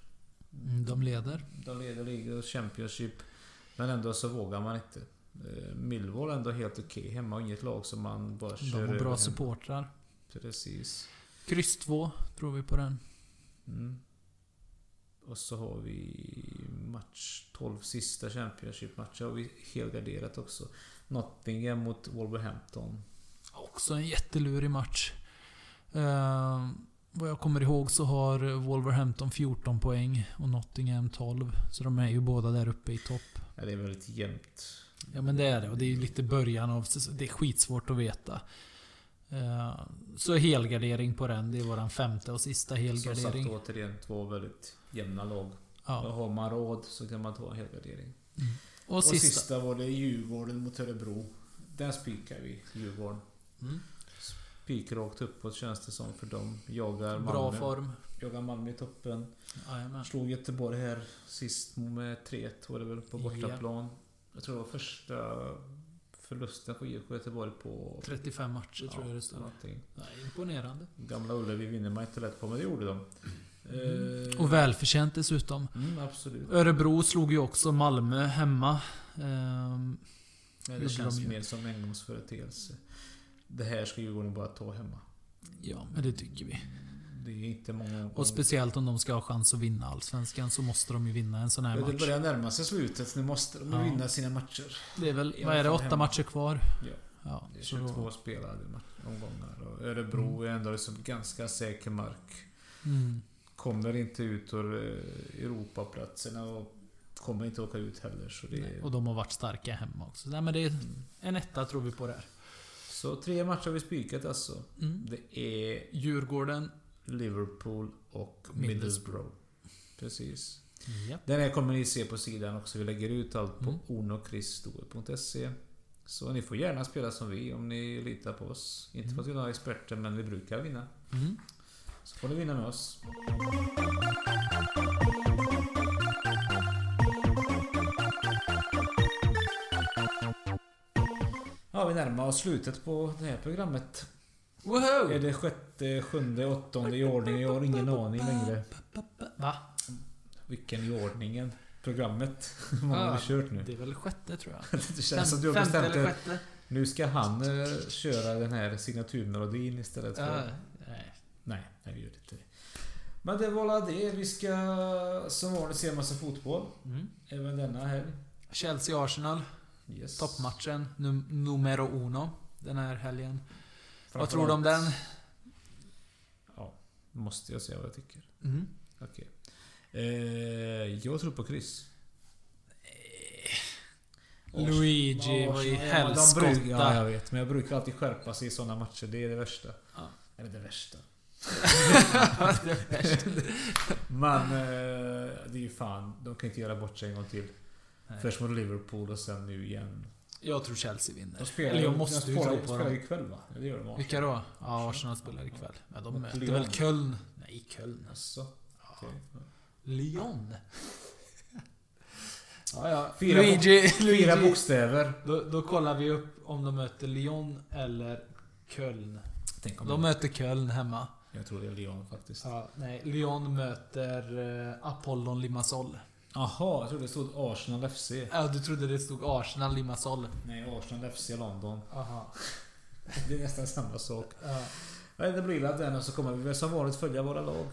[SPEAKER 3] Mm, De leder.
[SPEAKER 2] De leder ligan och Championship. Men ändå så vågar man inte. Eh, Millwall är ändå helt okej hemma. och Inget lag som man bara kör
[SPEAKER 3] De har
[SPEAKER 2] över
[SPEAKER 3] bra
[SPEAKER 2] hemma.
[SPEAKER 3] supportrar.
[SPEAKER 2] Precis.
[SPEAKER 3] Kryss 2 tror vi på den.
[SPEAKER 2] Mm. Och så har vi match 12, sista Championship-matchen har vi helgarderat också. Nottingham mot Wolverhampton.
[SPEAKER 3] Också en jättelurig match. Eh, vad jag kommer ihåg så har Wolverhampton 14 poäng och Nottingham 12. Så de är ju båda där uppe i topp.
[SPEAKER 2] Ja, det är väldigt jämnt.
[SPEAKER 3] Ja men det är det och det är ju lite början av säs- Det är skitsvårt att veta. Eh, så helgardering på den. Det är våran femte och sista
[SPEAKER 2] Som sagt
[SPEAKER 3] helgardering.
[SPEAKER 2] återigen, två väldigt jämna lag. Och
[SPEAKER 3] Ja.
[SPEAKER 2] har man råd så kan man ta en helgardering.
[SPEAKER 3] Och
[SPEAKER 2] Och sista.
[SPEAKER 3] sista.
[SPEAKER 2] var det Djurgården mot Örebro. Där spikar vi Djurgården.
[SPEAKER 3] Mm.
[SPEAKER 2] Spikrakt uppåt känns det som för dem. Jagar
[SPEAKER 3] Bra
[SPEAKER 2] Malmö.
[SPEAKER 3] form.
[SPEAKER 2] Jagar Malmö i toppen.
[SPEAKER 3] Jajamän.
[SPEAKER 2] Slog Göteborg här sist med 3-1 var det väl på bortaplan. Jag tror det var första förlusten på IFK Göteborg på...
[SPEAKER 3] 35 matcher tror jag det står.
[SPEAKER 2] någonting.
[SPEAKER 3] Nej, imponerande.
[SPEAKER 2] Gamla Ullevi vinner man inte lätt på, men det gjorde de. Eh,
[SPEAKER 3] Mm. Och välförtjänt dessutom.
[SPEAKER 2] mm, absolut.
[SPEAKER 3] Örebro slog ju också Malmö hemma. Ehm,
[SPEAKER 2] Men
[SPEAKER 3] gjorde
[SPEAKER 2] det känns
[SPEAKER 3] de ju.
[SPEAKER 2] mer som en engångsföreteelse. Det här ska Djurgården bara ta hemma.
[SPEAKER 3] ja, men det tycker vi.
[SPEAKER 2] Det är inte många...
[SPEAKER 3] Och speciellt om de ska ha chans att vinna Allsvenskan så måste de ju vinna en sån här
[SPEAKER 2] Ja, det
[SPEAKER 3] match.
[SPEAKER 2] börjar närma sig slutet. Nu måste de
[SPEAKER 3] Ja.
[SPEAKER 2] vinna sina matcher.
[SPEAKER 3] Det är väl,
[SPEAKER 2] i
[SPEAKER 3] vad
[SPEAKER 2] alla
[SPEAKER 3] är det,
[SPEAKER 2] fall
[SPEAKER 3] åtta
[SPEAKER 2] hemma.
[SPEAKER 3] matcher kvar?
[SPEAKER 2] Ja.
[SPEAKER 3] Ja,
[SPEAKER 2] Det är
[SPEAKER 3] så Mm. då,
[SPEAKER 2] 22 spelade match- omgångar. Och Örebro är ändå liksom ganska säker mark.
[SPEAKER 3] mm,
[SPEAKER 2] kommer inte ut ur eh, Europaplatserna och kommer inte åka ut heller. Så, det
[SPEAKER 3] nej, och de har varit starka hemma också. Nej, men det är en etta tror vi på där.
[SPEAKER 2] så tre matcher har vi spikat alltså.
[SPEAKER 3] Mm.
[SPEAKER 2] Det är
[SPEAKER 3] Djurgården.
[SPEAKER 2] Liverpool och Middlesbrough. Precis.
[SPEAKER 3] Japp.
[SPEAKER 2] Den här kommer ni se på sidan också. Vi lägger ut allt på
[SPEAKER 3] Mm.
[SPEAKER 2] ornochristore.se. Så ni får gärna spela som vi om ni litar på oss. Inte för att vi är några experter, men vi brukar vinna.
[SPEAKER 3] Mm.
[SPEAKER 2] Så får ni vinna med oss. Ja, vi närmar oss slutet på det här programmet. Är
[SPEAKER 3] Woho!
[SPEAKER 2] det sjätte, sjunde, åttonde i ordning? Jag har ingen aning längre.
[SPEAKER 3] Va?
[SPEAKER 2] Vilken i ordningen? Programmet? Man
[SPEAKER 3] Ja,
[SPEAKER 2] har kört nu.
[SPEAKER 3] Det är väl sjätte tror (laughs) jag.
[SPEAKER 2] Det känns som du har
[SPEAKER 3] Fem- femte
[SPEAKER 2] bestämt
[SPEAKER 3] eller
[SPEAKER 2] dig.
[SPEAKER 3] sjätte.
[SPEAKER 2] Nu ska han eh, köra den här signaturmelodin istället för...
[SPEAKER 3] Ja, nej.
[SPEAKER 2] Nej, nej vi gör inte det. Men det var alla det. Vi ska som vanligt se en massa fotboll.
[SPEAKER 3] Mm.
[SPEAKER 2] Även denna helg.
[SPEAKER 3] Chelsea-Arsenal.
[SPEAKER 2] Yes.
[SPEAKER 3] Toppmatchen. Num- numero uno. Den här helgen. Vad
[SPEAKER 2] Framförallt-
[SPEAKER 3] tror du om den?
[SPEAKER 2] Ja, måste jag säga vad jag tycker.
[SPEAKER 3] Mm.
[SPEAKER 2] Okej. Eh, jag tror på kryss. Ars-
[SPEAKER 3] Luigi
[SPEAKER 2] Ja,
[SPEAKER 3] var ju
[SPEAKER 2] Arsenal, ja, de brukar-
[SPEAKER 3] helskotta. (laughs)
[SPEAKER 2] Ja, jag vet. Men jag brukar alltid skärpa sig i såna matcher. Det är det värsta.
[SPEAKER 3] Ja.
[SPEAKER 2] Eller det värsta.
[SPEAKER 3] Det är värst. (laughs)
[SPEAKER 2] Men eh, det är ju fan. De kan inte göra bort sig en gång till.
[SPEAKER 3] Nej.
[SPEAKER 2] Först mot Liverpool och sen nu igen.
[SPEAKER 3] Jag tror Chelsea vinner.
[SPEAKER 2] De spelar,
[SPEAKER 3] Eller jag
[SPEAKER 2] de
[SPEAKER 3] måste ju
[SPEAKER 2] spelar,
[SPEAKER 3] tro
[SPEAKER 2] de
[SPEAKER 3] på
[SPEAKER 2] spelar
[SPEAKER 3] dem.
[SPEAKER 2] ju ikväll va? Ja, Det gör de va?
[SPEAKER 3] Vilka då? Ja, Arsenal spelar ikväll. Men de
[SPEAKER 2] Mot
[SPEAKER 3] möter
[SPEAKER 2] Lyon.
[SPEAKER 3] väl Köln? Nej, Köln.
[SPEAKER 2] Jaså? Okej.
[SPEAKER 3] Lyon? Ja, ja.
[SPEAKER 2] Fyra bok-
[SPEAKER 3] Luigi,
[SPEAKER 2] Fyra
[SPEAKER 3] Luigi.
[SPEAKER 2] bokstäver.
[SPEAKER 3] Då, då kollar vi upp om de möter Lyon eller Köln.
[SPEAKER 2] Tänk
[SPEAKER 3] De möter Köln hemma.
[SPEAKER 2] Jag tror det är Lyon faktiskt.
[SPEAKER 3] Ja, nej, Lyon möter eh, Apollon Limassol.
[SPEAKER 2] Jaha, jag trodde det stod Arsenal FC.
[SPEAKER 3] Ja, du trodde det stod Arsenal Limassol.
[SPEAKER 2] Nej, Arsenal FC London.
[SPEAKER 3] Aha.
[SPEAKER 2] Det är nästan samma sak.
[SPEAKER 3] Ja.
[SPEAKER 2] Nej, det blir väl den och så kommer vi väl som vanligt följa våra lag.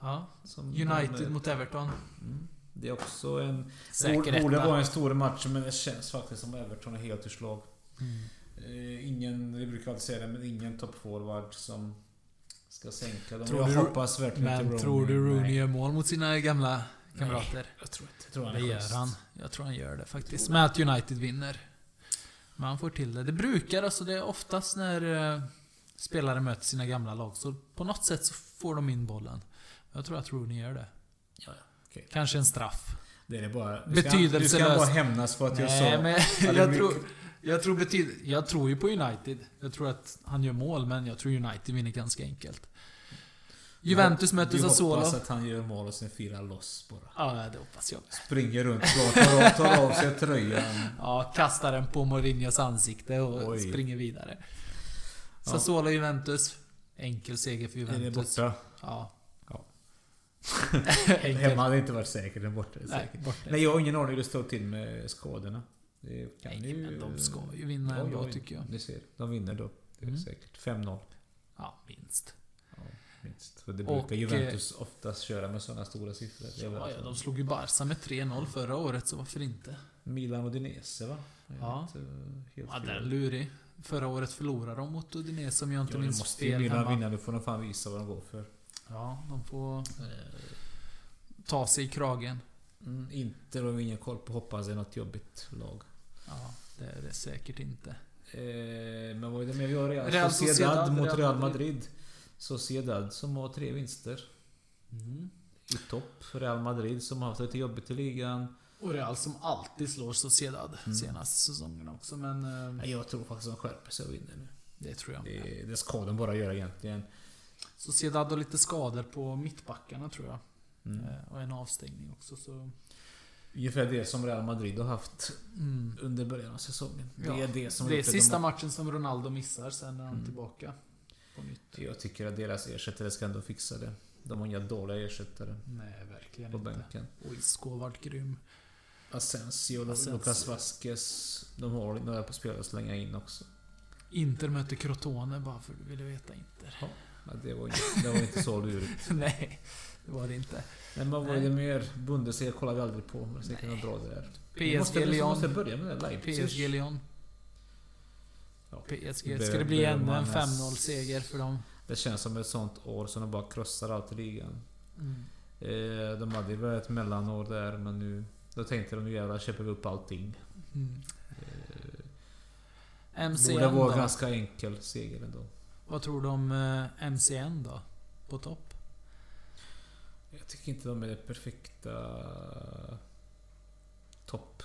[SPEAKER 3] Ja.
[SPEAKER 2] Som
[SPEAKER 3] United
[SPEAKER 2] de-
[SPEAKER 3] mot Everton.
[SPEAKER 2] Mm. Det är också en...
[SPEAKER 3] Säker
[SPEAKER 2] borde
[SPEAKER 3] etta.
[SPEAKER 2] vara en stor match men det känns faktiskt som Everton är helt ur slag.
[SPEAKER 3] Mm.
[SPEAKER 2] Eh, ingen, vi brukar alltid säga det, men ingen toppforward som ska sänka dem.
[SPEAKER 3] Tror
[SPEAKER 2] jag
[SPEAKER 3] du-
[SPEAKER 2] hoppas verkligen
[SPEAKER 3] Men
[SPEAKER 2] inte
[SPEAKER 3] tror du Rooney
[SPEAKER 2] Nej,
[SPEAKER 3] gör mål mot sina gamla kamrater?
[SPEAKER 2] jag tror inte. Jag tror han
[SPEAKER 3] Det
[SPEAKER 2] är
[SPEAKER 3] gör
[SPEAKER 2] schysst.
[SPEAKER 3] han. Jag tror han gör det faktiskt. Men att United vinner. Men han får till det. Det brukar, alltså det är oftast när eh, spelare möter sina gamla lag. Så på något sätt så får de in bollen. Jag tror att Rooney gör det.
[SPEAKER 2] Ja, ja. Okej.
[SPEAKER 3] Kanske en straff.
[SPEAKER 2] Det är det bara... Du ska, du
[SPEAKER 3] Betydelselöst.
[SPEAKER 2] ska bara hämnas för att jag sa...
[SPEAKER 3] Nej, men
[SPEAKER 2] Ja, det är
[SPEAKER 3] (laughs) jag tror...
[SPEAKER 2] mycket-
[SPEAKER 3] Jag tror, betyd- jag tror ju på United. Jag tror att han gör mål, men jag tror United vinner ganska enkelt. Juventus möter
[SPEAKER 2] Vi
[SPEAKER 3] Sassuolo.
[SPEAKER 2] hoppas att han gör mål och sen firar loss
[SPEAKER 3] Ja,
[SPEAKER 2] bara.
[SPEAKER 3] det hoppas jag.
[SPEAKER 2] Springer runt klart, tar av, tar av sig
[SPEAKER 3] (laughs)
[SPEAKER 2] tröjan.
[SPEAKER 3] Ja, kastar den på Mourinhos ansikte och
[SPEAKER 2] Oj.
[SPEAKER 3] springer vidare.
[SPEAKER 2] Ja.
[SPEAKER 3] Sassuolo Juventus. Enkel seger för
[SPEAKER 2] Den är
[SPEAKER 3] Juventus.
[SPEAKER 2] borta.
[SPEAKER 3] Ja.
[SPEAKER 2] Ja.
[SPEAKER 3] (laughs) Enkel.
[SPEAKER 2] Hemma hade inte varit säker, den är borta. är
[SPEAKER 3] Nej,
[SPEAKER 2] säker.
[SPEAKER 3] borta.
[SPEAKER 2] Nej, jag har ingen aning hur det står till med skadorna. Det kan
[SPEAKER 3] Nej,
[SPEAKER 2] ju...
[SPEAKER 3] men de ska ju vinna
[SPEAKER 2] Ja,
[SPEAKER 3] ändå
[SPEAKER 2] vinner.
[SPEAKER 3] tycker jag.
[SPEAKER 2] Ni ser, de vinner då. Det är
[SPEAKER 3] Mm.
[SPEAKER 2] säkert. 5-0.
[SPEAKER 3] Ja, minst.
[SPEAKER 2] Ja, minst. För det
[SPEAKER 3] Och,
[SPEAKER 2] brukar Juventus oftast köra med sådana stora siffror. Det är väl
[SPEAKER 3] Ja, ja,
[SPEAKER 2] alltså
[SPEAKER 3] de slog ju Barca med 3-0 förra året, så varför inte?
[SPEAKER 2] Milan och Dinese va? Jag är
[SPEAKER 3] Ja.
[SPEAKER 2] inte, eh, helt
[SPEAKER 3] Ja,
[SPEAKER 2] fel.
[SPEAKER 3] den är lurig. Förra året förlorade de mot Udinese om jag inte
[SPEAKER 2] Ja, nu
[SPEAKER 3] minns
[SPEAKER 2] måste ju
[SPEAKER 3] fel
[SPEAKER 2] Milan
[SPEAKER 3] hemma.
[SPEAKER 2] vinna. Nu får de fan visa vad de går för.
[SPEAKER 3] Ja, de får ta sig i kragen.
[SPEAKER 2] Mm, inte då, ingen koll på. Hoppas det är något jobbigt lag.
[SPEAKER 3] Ja, det är det säkert inte.
[SPEAKER 2] Eh, men vad är det mer vi har? Real,
[SPEAKER 3] Real
[SPEAKER 2] Sociedad,
[SPEAKER 3] Sociedad,
[SPEAKER 2] mot
[SPEAKER 3] Real
[SPEAKER 2] Real Madrid. Sociedad som har tre vinster
[SPEAKER 3] Mm.
[SPEAKER 2] i topp. Real Madrid som har haft det lite jobbigt i ligan.
[SPEAKER 3] Och Real som alltid slår Sociedad senaste säsongen också, men... eh,
[SPEAKER 2] Mm. Nej, Jag tror faktiskt de skärper sig och vinner nu.
[SPEAKER 3] det tror jag inte.
[SPEAKER 2] Det, det ska de bara göra egentligen.
[SPEAKER 3] Sociedad har lite skador på mittbackarna tror jag.
[SPEAKER 2] Mm.
[SPEAKER 3] Eh, och en avstängning också, så...
[SPEAKER 2] Ungefär det som Real Madrid har haft
[SPEAKER 3] Mm.
[SPEAKER 2] under början av säsongen.
[SPEAKER 3] Ja,
[SPEAKER 2] Det är det som har
[SPEAKER 3] det är
[SPEAKER 2] gjort att
[SPEAKER 3] sista
[SPEAKER 2] de...
[SPEAKER 3] matchen som Ronaldo missar, sen är han
[SPEAKER 2] Mm.
[SPEAKER 3] tillbaka. På nytt.
[SPEAKER 2] Jag tycker att deras ersättare ska ändå fixa det. De har inga dåliga ersättare
[SPEAKER 3] Nej, verkligen
[SPEAKER 2] på
[SPEAKER 3] inte.
[SPEAKER 2] bänken.
[SPEAKER 3] Och Isco har varit grym.
[SPEAKER 2] Asensio,
[SPEAKER 3] Asensio.
[SPEAKER 2] Lucas Vasquez. De har några på spelare att slänga in också.
[SPEAKER 3] Inter möter Crotone bara för att du ville veta Inter. (laughs)
[SPEAKER 2] Ja, det, var inte, det var inte så lurigt.
[SPEAKER 3] Nej, det var det inte.
[SPEAKER 2] Nej, men vad var
[SPEAKER 3] Nej.
[SPEAKER 2] det mer? Bundesliga kollar vi aldrig på. Men det är säkert något bra det där. Vi måste, vi måste
[SPEAKER 3] PSG-Lyon.
[SPEAKER 2] börja med det. Leipzig.
[SPEAKER 3] PSG-Lyon.
[SPEAKER 2] Ja.
[SPEAKER 3] PSG.
[SPEAKER 2] Det
[SPEAKER 3] Ska det bli
[SPEAKER 2] bör
[SPEAKER 3] ännu en
[SPEAKER 2] man-
[SPEAKER 3] 5-0-seger för dem?
[SPEAKER 2] Det känns som ett sånt år som de bara krossar allt i ligan.
[SPEAKER 3] Mm.
[SPEAKER 2] Eh, de hade ju väl ett mellanår där men nu... Då tänkte de nu jävlar köper vi upp allting.
[SPEAKER 3] Mm.
[SPEAKER 2] Eh,
[SPEAKER 3] MCN
[SPEAKER 2] borde vara
[SPEAKER 3] då?
[SPEAKER 2] ganska enkel seger ändå.
[SPEAKER 3] Vad tror du om eh, MCN då? På topp?
[SPEAKER 2] Jag tycker inte de är det perfekta... Topp...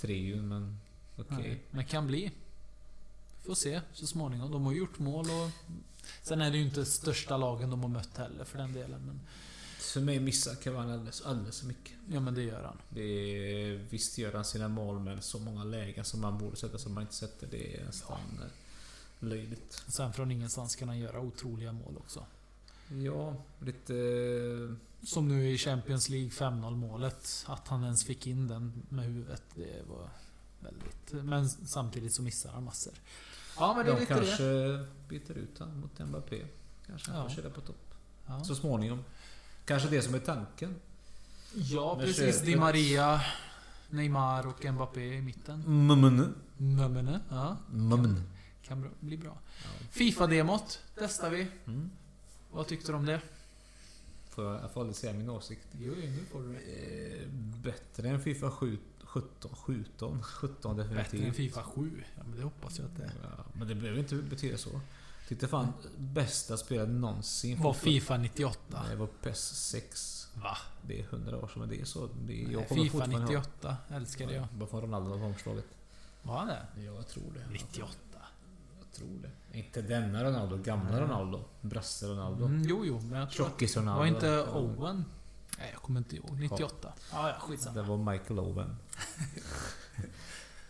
[SPEAKER 2] Trion men... Okej.
[SPEAKER 3] Nej, Men kan bli. Får se så småningom. De har gjort mål och... Sen är det ju inte största lagen de har mött heller för den delen. Men,
[SPEAKER 2] För mig missar Cavani alldeles, alldeles för mycket.
[SPEAKER 3] ja men det gör han.
[SPEAKER 2] Det är, visst gör han sina mål men så många lägen som man borde sätta som man inte sätter. Det är nästan eh, löjligt.
[SPEAKER 3] Sen från ingenstans kan han göra otroliga mål också.
[SPEAKER 2] Ja, lite...
[SPEAKER 3] Som nu i Champions League 5-0 målet. Att han ens fick in den med huvudet. Det var väldigt... Men samtidigt så missar han massor. Ja men det är
[SPEAKER 2] De
[SPEAKER 3] lite
[SPEAKER 2] kanske
[SPEAKER 3] det.
[SPEAKER 2] byter ut han mot Mbappé. Kanske han
[SPEAKER 3] Ja.
[SPEAKER 2] får köra på topp.
[SPEAKER 3] Ja,
[SPEAKER 2] Så småningom. Kanske det som är tanken.
[SPEAKER 3] ja
[SPEAKER 2] Men
[SPEAKER 3] precis.
[SPEAKER 2] så-
[SPEAKER 3] Di Maria, Neymar och Mbappé i mitten.
[SPEAKER 2] Mummen.
[SPEAKER 3] Mömmene. Ja,
[SPEAKER 2] Mummen.
[SPEAKER 3] kan bra- bli bra. Fifa-demot testar vi.
[SPEAKER 2] Mm.
[SPEAKER 3] Vad tyckte du om det?
[SPEAKER 2] Får jag, jag får aldrig säga min åsikt.
[SPEAKER 3] Jo, nu får du det.
[SPEAKER 2] Eh, bättre än Fifa 7, 17, 17, 17 definitivt.
[SPEAKER 3] Bättre än Fifa 7. Ja, men det hoppas jag att det är.
[SPEAKER 2] Ja, men det behöver inte betyda så. Titta fan, bästa spelet någonsin.
[SPEAKER 3] Var Fifa 98?
[SPEAKER 2] Nej, det var PES 6.
[SPEAKER 3] Va?
[SPEAKER 2] Det är 100 år sedan, men det är så. Det,
[SPEAKER 3] Nej,
[SPEAKER 2] jag kommer
[SPEAKER 3] Fifa
[SPEAKER 2] fortfarande
[SPEAKER 3] 98 älskade jag.
[SPEAKER 2] ihåg. Bara från Ronaldo var omslaget.
[SPEAKER 3] Var han det?
[SPEAKER 2] Ja, jag tror det.
[SPEAKER 3] 98.
[SPEAKER 2] Jag tror det. Inte denna Ronaldo, gamla Ronaldo. Brasse Ronaldo.
[SPEAKER 3] Mm, jo, jo, men jag tror att...
[SPEAKER 2] Tjockis Ronaldo.
[SPEAKER 3] Var inte
[SPEAKER 2] Ja,
[SPEAKER 3] Owen? liksom? Nej, jag kommer inte ihåg. 98. Ja, ja,
[SPEAKER 2] Det
[SPEAKER 3] skitsamma.
[SPEAKER 2] var Michael Owen.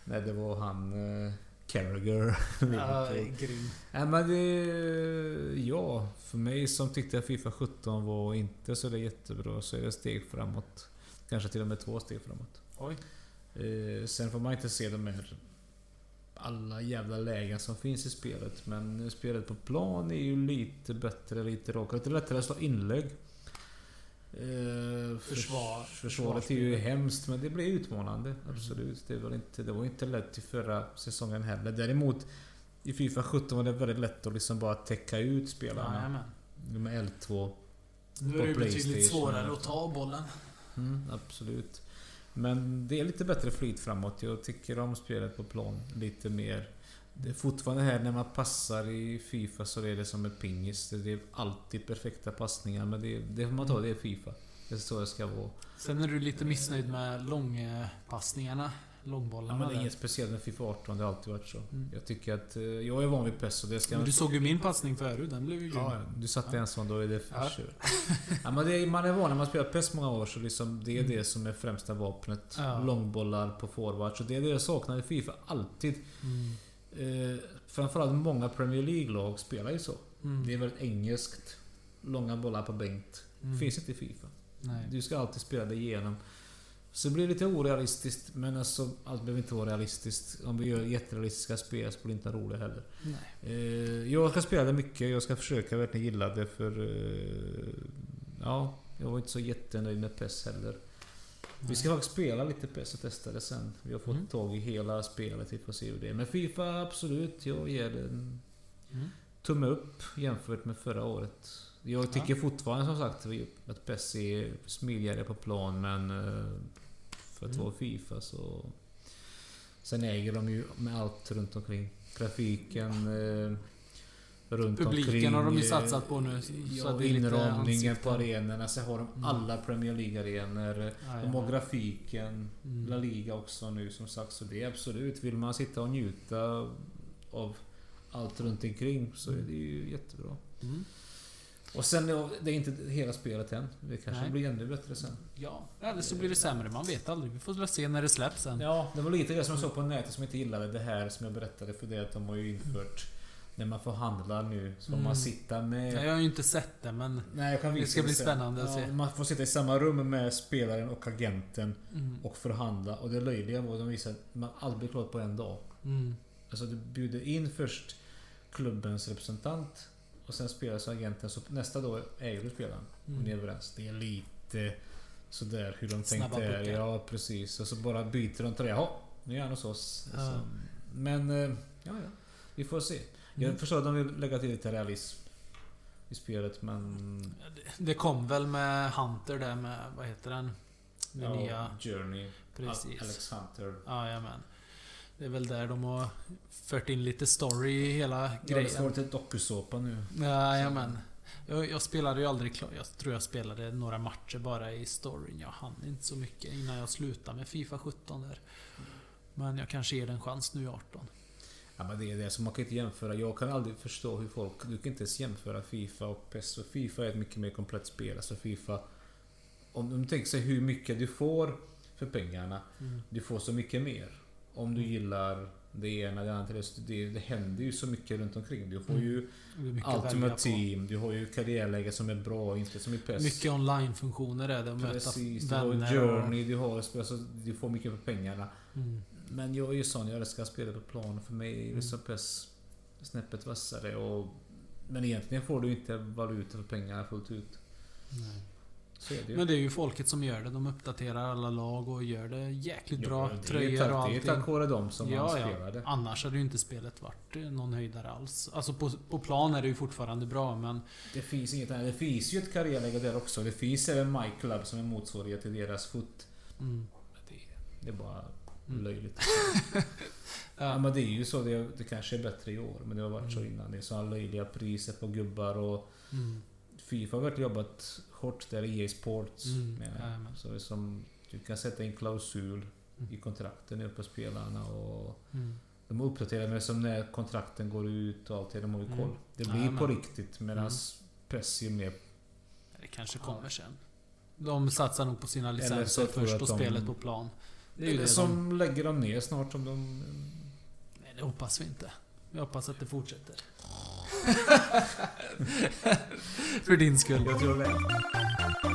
[SPEAKER 2] Nej, det var han... Eh, Carragher.
[SPEAKER 3] (laughs) Ja,
[SPEAKER 2] Liverpool.
[SPEAKER 3] grym.
[SPEAKER 2] Nej men det... Ja, för mig som tyckte att Fifa 17 var inte så det jättebra så är det ett steg framåt. Kanske till och med två steg framåt.
[SPEAKER 3] Oj.
[SPEAKER 2] Eh, sen får man inte se de här... Alla jävla lägen som finns i spelet men spelet på plan är ju lite bättre, lite rakare. Lite lättare att slå inlägg. Eh,
[SPEAKER 3] Försvar-
[SPEAKER 2] försvaret är ju hemskt men det blir utmanande. Absolut. Det var inte, det var inte lätt i förra säsongen heller. Däremot i Fifa 17 var det väldigt lätt att liksom bara täcka ut spelarna.
[SPEAKER 3] Jajamän.
[SPEAKER 2] Med L2.
[SPEAKER 3] Nu är det ju
[SPEAKER 2] På
[SPEAKER 3] betydligt
[SPEAKER 2] PlayStation.
[SPEAKER 3] svårare att ta bollen.
[SPEAKER 2] Mm, absolut. Men det är lite bättre flyt framåt. Jag tycker om spelet på plan lite mer. Det är fortfarande här när man passar i Fifa så är det som ett pingis. Det är alltid perfekta passningar men det, det får man ta, det är Fifa. Det är så det ska vara.
[SPEAKER 3] Sen är du lite missnöjd med långpassningarna.
[SPEAKER 2] Ja,
[SPEAKER 3] Långbollarna.
[SPEAKER 2] men det är
[SPEAKER 3] där.
[SPEAKER 2] inget speciellt med Fifa 18, det har alltid varit så.
[SPEAKER 3] Mm.
[SPEAKER 2] Jag tycker att... eh, Jag är van vid PES och det ska...
[SPEAKER 3] men du såg ju min passning förut. Den blev ju grym.
[SPEAKER 2] Ja, du satte en sån, då är det
[SPEAKER 3] Mm. Ja.
[SPEAKER 2] för ja, men det är, Man är van när man spelar PES många år så liksom det är det som är främsta vapnet.
[SPEAKER 3] Mm. Ja.
[SPEAKER 2] Långbollar på forwards. Och det är det jag saknar i Fifa, alltid.
[SPEAKER 3] Mm.
[SPEAKER 2] Eh, framförallt många Premier League-lag spelar ju så.
[SPEAKER 3] Mm.
[SPEAKER 2] Det är väldigt engelskt. Långa bollar på bänkt.
[SPEAKER 3] Mm.
[SPEAKER 2] Finns inte i Fifa.
[SPEAKER 3] Nej.
[SPEAKER 2] Du ska alltid spela dig igenom. Så det blir lite orealistiskt, men alltså, allt behöver inte vara realistiskt. Om vi gör jätterealistiska spel så blir det inte roligt heller.
[SPEAKER 3] Nej.
[SPEAKER 2] Eh, jag ska spela det mycket, jag ska försöka verkligen gilla det för... Eh, ja, jag var inte så jättenöjd med PES heller. Vi ska faktiskt spela lite PES och testa det sen. Vi har fått
[SPEAKER 3] Mm.
[SPEAKER 2] tag i hela spelet, vi får se hur det är. Men Fifa, absolut, jag ger det en
[SPEAKER 3] Mm.
[SPEAKER 2] tumme upp jämfört med förra året. Jag tycker fortfarande som sagt att PES är smidigare på plan men eh, för att
[SPEAKER 3] Mm.
[SPEAKER 2] vara Fifa så... Sen äger de ju med allt runt omkring. Grafiken eh, runt
[SPEAKER 3] Publiken
[SPEAKER 2] omkring.
[SPEAKER 3] har de ju
[SPEAKER 2] eh,
[SPEAKER 3] satsat på nu, så
[SPEAKER 2] Ja,
[SPEAKER 3] det är lite
[SPEAKER 2] inramningen
[SPEAKER 3] ansikten.
[SPEAKER 2] på arenorna. Sen har de
[SPEAKER 3] Mm.
[SPEAKER 2] alla Premier League-arenor.
[SPEAKER 3] Ja,
[SPEAKER 2] De har
[SPEAKER 3] ja.
[SPEAKER 2] grafiken.
[SPEAKER 3] Mm.
[SPEAKER 2] La Liga också nu som sagt. Så det är absolut. Vill man sitta och njuta av allt runt omkring så är det ju jättebra.
[SPEAKER 3] Mm.
[SPEAKER 2] Och sen, ja, det är inte hela spelet än. Det kanske
[SPEAKER 3] Nej.
[SPEAKER 2] blir ännu bättre sen.
[SPEAKER 3] Ja, eller så blir det sämre. Man vet aldrig. Vi får väl se när det släpps sen.
[SPEAKER 2] Ja, det var lite det som jag såg på nätet som inte gillade det här som jag berättade för det att de har ju infört när man får handla nu så får
[SPEAKER 3] Mm.
[SPEAKER 2] man sitta med...
[SPEAKER 3] Jag har ju inte sett det, men...
[SPEAKER 2] Nej, jag kan
[SPEAKER 3] Det
[SPEAKER 2] visa
[SPEAKER 3] ska bli
[SPEAKER 2] sen.
[SPEAKER 3] spännande att
[SPEAKER 2] ja,
[SPEAKER 3] se.
[SPEAKER 2] Man får sitta i samma rum med spelaren och agenten
[SPEAKER 3] Mm.
[SPEAKER 2] och förhandla. Och det löjliga var att de visade att man aldrig blir klar på en dag.
[SPEAKER 3] Mm.
[SPEAKER 2] Alltså du bjuder in först klubbens representant och sen spelar så agenten. Så nästa dag äger du spelaren. Om ni är
[SPEAKER 3] Mm.
[SPEAKER 2] överens. Det är lite sådär hur de
[SPEAKER 3] Snabba
[SPEAKER 2] tänkte.
[SPEAKER 3] puckar.
[SPEAKER 2] Ja, precis. Och så bara byter de till det. Jaha, nu är han hos oss.
[SPEAKER 3] Ja.
[SPEAKER 2] Så, men, eh, ja, ja. Vi får se.
[SPEAKER 3] Mm.
[SPEAKER 2] Jag förstår att de vill lägga till lite realism i spelet, men...
[SPEAKER 3] Det kom väl med Hunter där med... Vad heter den? Den
[SPEAKER 2] ja,
[SPEAKER 3] nya...
[SPEAKER 2] Journey. Al-
[SPEAKER 3] Precis.
[SPEAKER 2] Alex Hunter.
[SPEAKER 3] Jajamän. Det är väl där de har fört in lite story i hela
[SPEAKER 2] Ja, det
[SPEAKER 3] grejen.
[SPEAKER 2] står inte dokusåpa nu.
[SPEAKER 3] Jajamän. Jag, jag spelade ju aldrig klart. Jag tror jag spelade några matcher bara i storyn. Jag hann inte så mycket innan jag slutade med Fifa 17 där. Men jag kanske ger den en chans nu i 18.
[SPEAKER 2] Ja, men det är det som man kan inte jämföra. Jag kan aldrig förstå hur folk... Du kan inte ens jämföra Fifa och PES. Och Fifa är ett mycket mer komplett spel. Alltså Fifa... Om du tänker sig hur mycket du får för pengarna.
[SPEAKER 3] Mm.
[SPEAKER 2] Du får så mycket mer. Om du gillar det ena, det andra, till det, det, det händer ju så mycket runt omkring. Du får
[SPEAKER 3] Mm.
[SPEAKER 2] ju
[SPEAKER 3] Det är mycket att välja
[SPEAKER 2] Ultimate
[SPEAKER 3] på.
[SPEAKER 2] Team, du har ju karriärläge som är bra, inte som i PES.
[SPEAKER 3] Mycket online-funktioner är det. att
[SPEAKER 2] Precis, du
[SPEAKER 3] möta
[SPEAKER 2] har
[SPEAKER 3] vänner.
[SPEAKER 2] Journey, du har alltså, du får mycket för pengarna.
[SPEAKER 3] Och, mm.
[SPEAKER 2] Men jag är ju sån, jag älskar att spela på plan. För mig är
[SPEAKER 3] Mm.
[SPEAKER 2] det så pass snäppet vassare och... Men egentligen får du inte valuta för pengarna fullt ut.
[SPEAKER 3] nej.
[SPEAKER 2] Så är det ju.
[SPEAKER 3] Men det är ju folket som gör det. De uppdaterar alla lag och gör det jäkligt
[SPEAKER 2] Ja,
[SPEAKER 3] bra.
[SPEAKER 2] det är ju tack-
[SPEAKER 3] Tröjor och allting.
[SPEAKER 2] Det är tack vare dem som
[SPEAKER 3] ja,
[SPEAKER 2] han
[SPEAKER 3] ja.
[SPEAKER 2] spelade.
[SPEAKER 3] Annars hade ju inte spelet varit eh, någon höjdare alls. Alltså på, på plan är det ju fortfarande bra men...
[SPEAKER 2] Det finns inget annat. Det finns ju ett karriärläge där också. Det finns även My Club som är motsvarighet till deras foot.
[SPEAKER 3] Mm,
[SPEAKER 2] Men Det, det är bara
[SPEAKER 3] Mm. (laughs)
[SPEAKER 2] löjligt. Ja,
[SPEAKER 3] ja,
[SPEAKER 2] men det är ju så. Det, det kanske är bättre i år. Men det har varit så
[SPEAKER 3] Mm.
[SPEAKER 2] innan. Det är såna löjliga priser på gubbar och...
[SPEAKER 3] mm,
[SPEAKER 2] Fifa har verkligen jobbat hårt där i EA Sports.
[SPEAKER 3] Mm,
[SPEAKER 2] menar jag.
[SPEAKER 3] jajamän.
[SPEAKER 2] Så Alltså, det är som, du kan sätta in klausul i kontrakten uppe på spelarna och
[SPEAKER 3] mm.
[SPEAKER 2] de har uppdaterat men som när kontrakten går ut och allt det, de har ju
[SPEAKER 3] Mm.
[SPEAKER 2] koll. Det blir
[SPEAKER 3] Jajamän.
[SPEAKER 2] på riktigt medan press är mer...
[SPEAKER 3] Det kanske kommer sen. De satsar nog på sina
[SPEAKER 2] Eller
[SPEAKER 3] licenser
[SPEAKER 2] så tror jag
[SPEAKER 3] först och
[SPEAKER 2] att de-
[SPEAKER 3] spelet på plan. Det är ju
[SPEAKER 2] Eller
[SPEAKER 3] det de...
[SPEAKER 2] som lägger dem ner snart om de...
[SPEAKER 3] Nej, det hoppas vi inte. Vi hoppas att det
[SPEAKER 2] (laughs)
[SPEAKER 3] fortsätter. För din skull.
[SPEAKER 2] Jag tror det.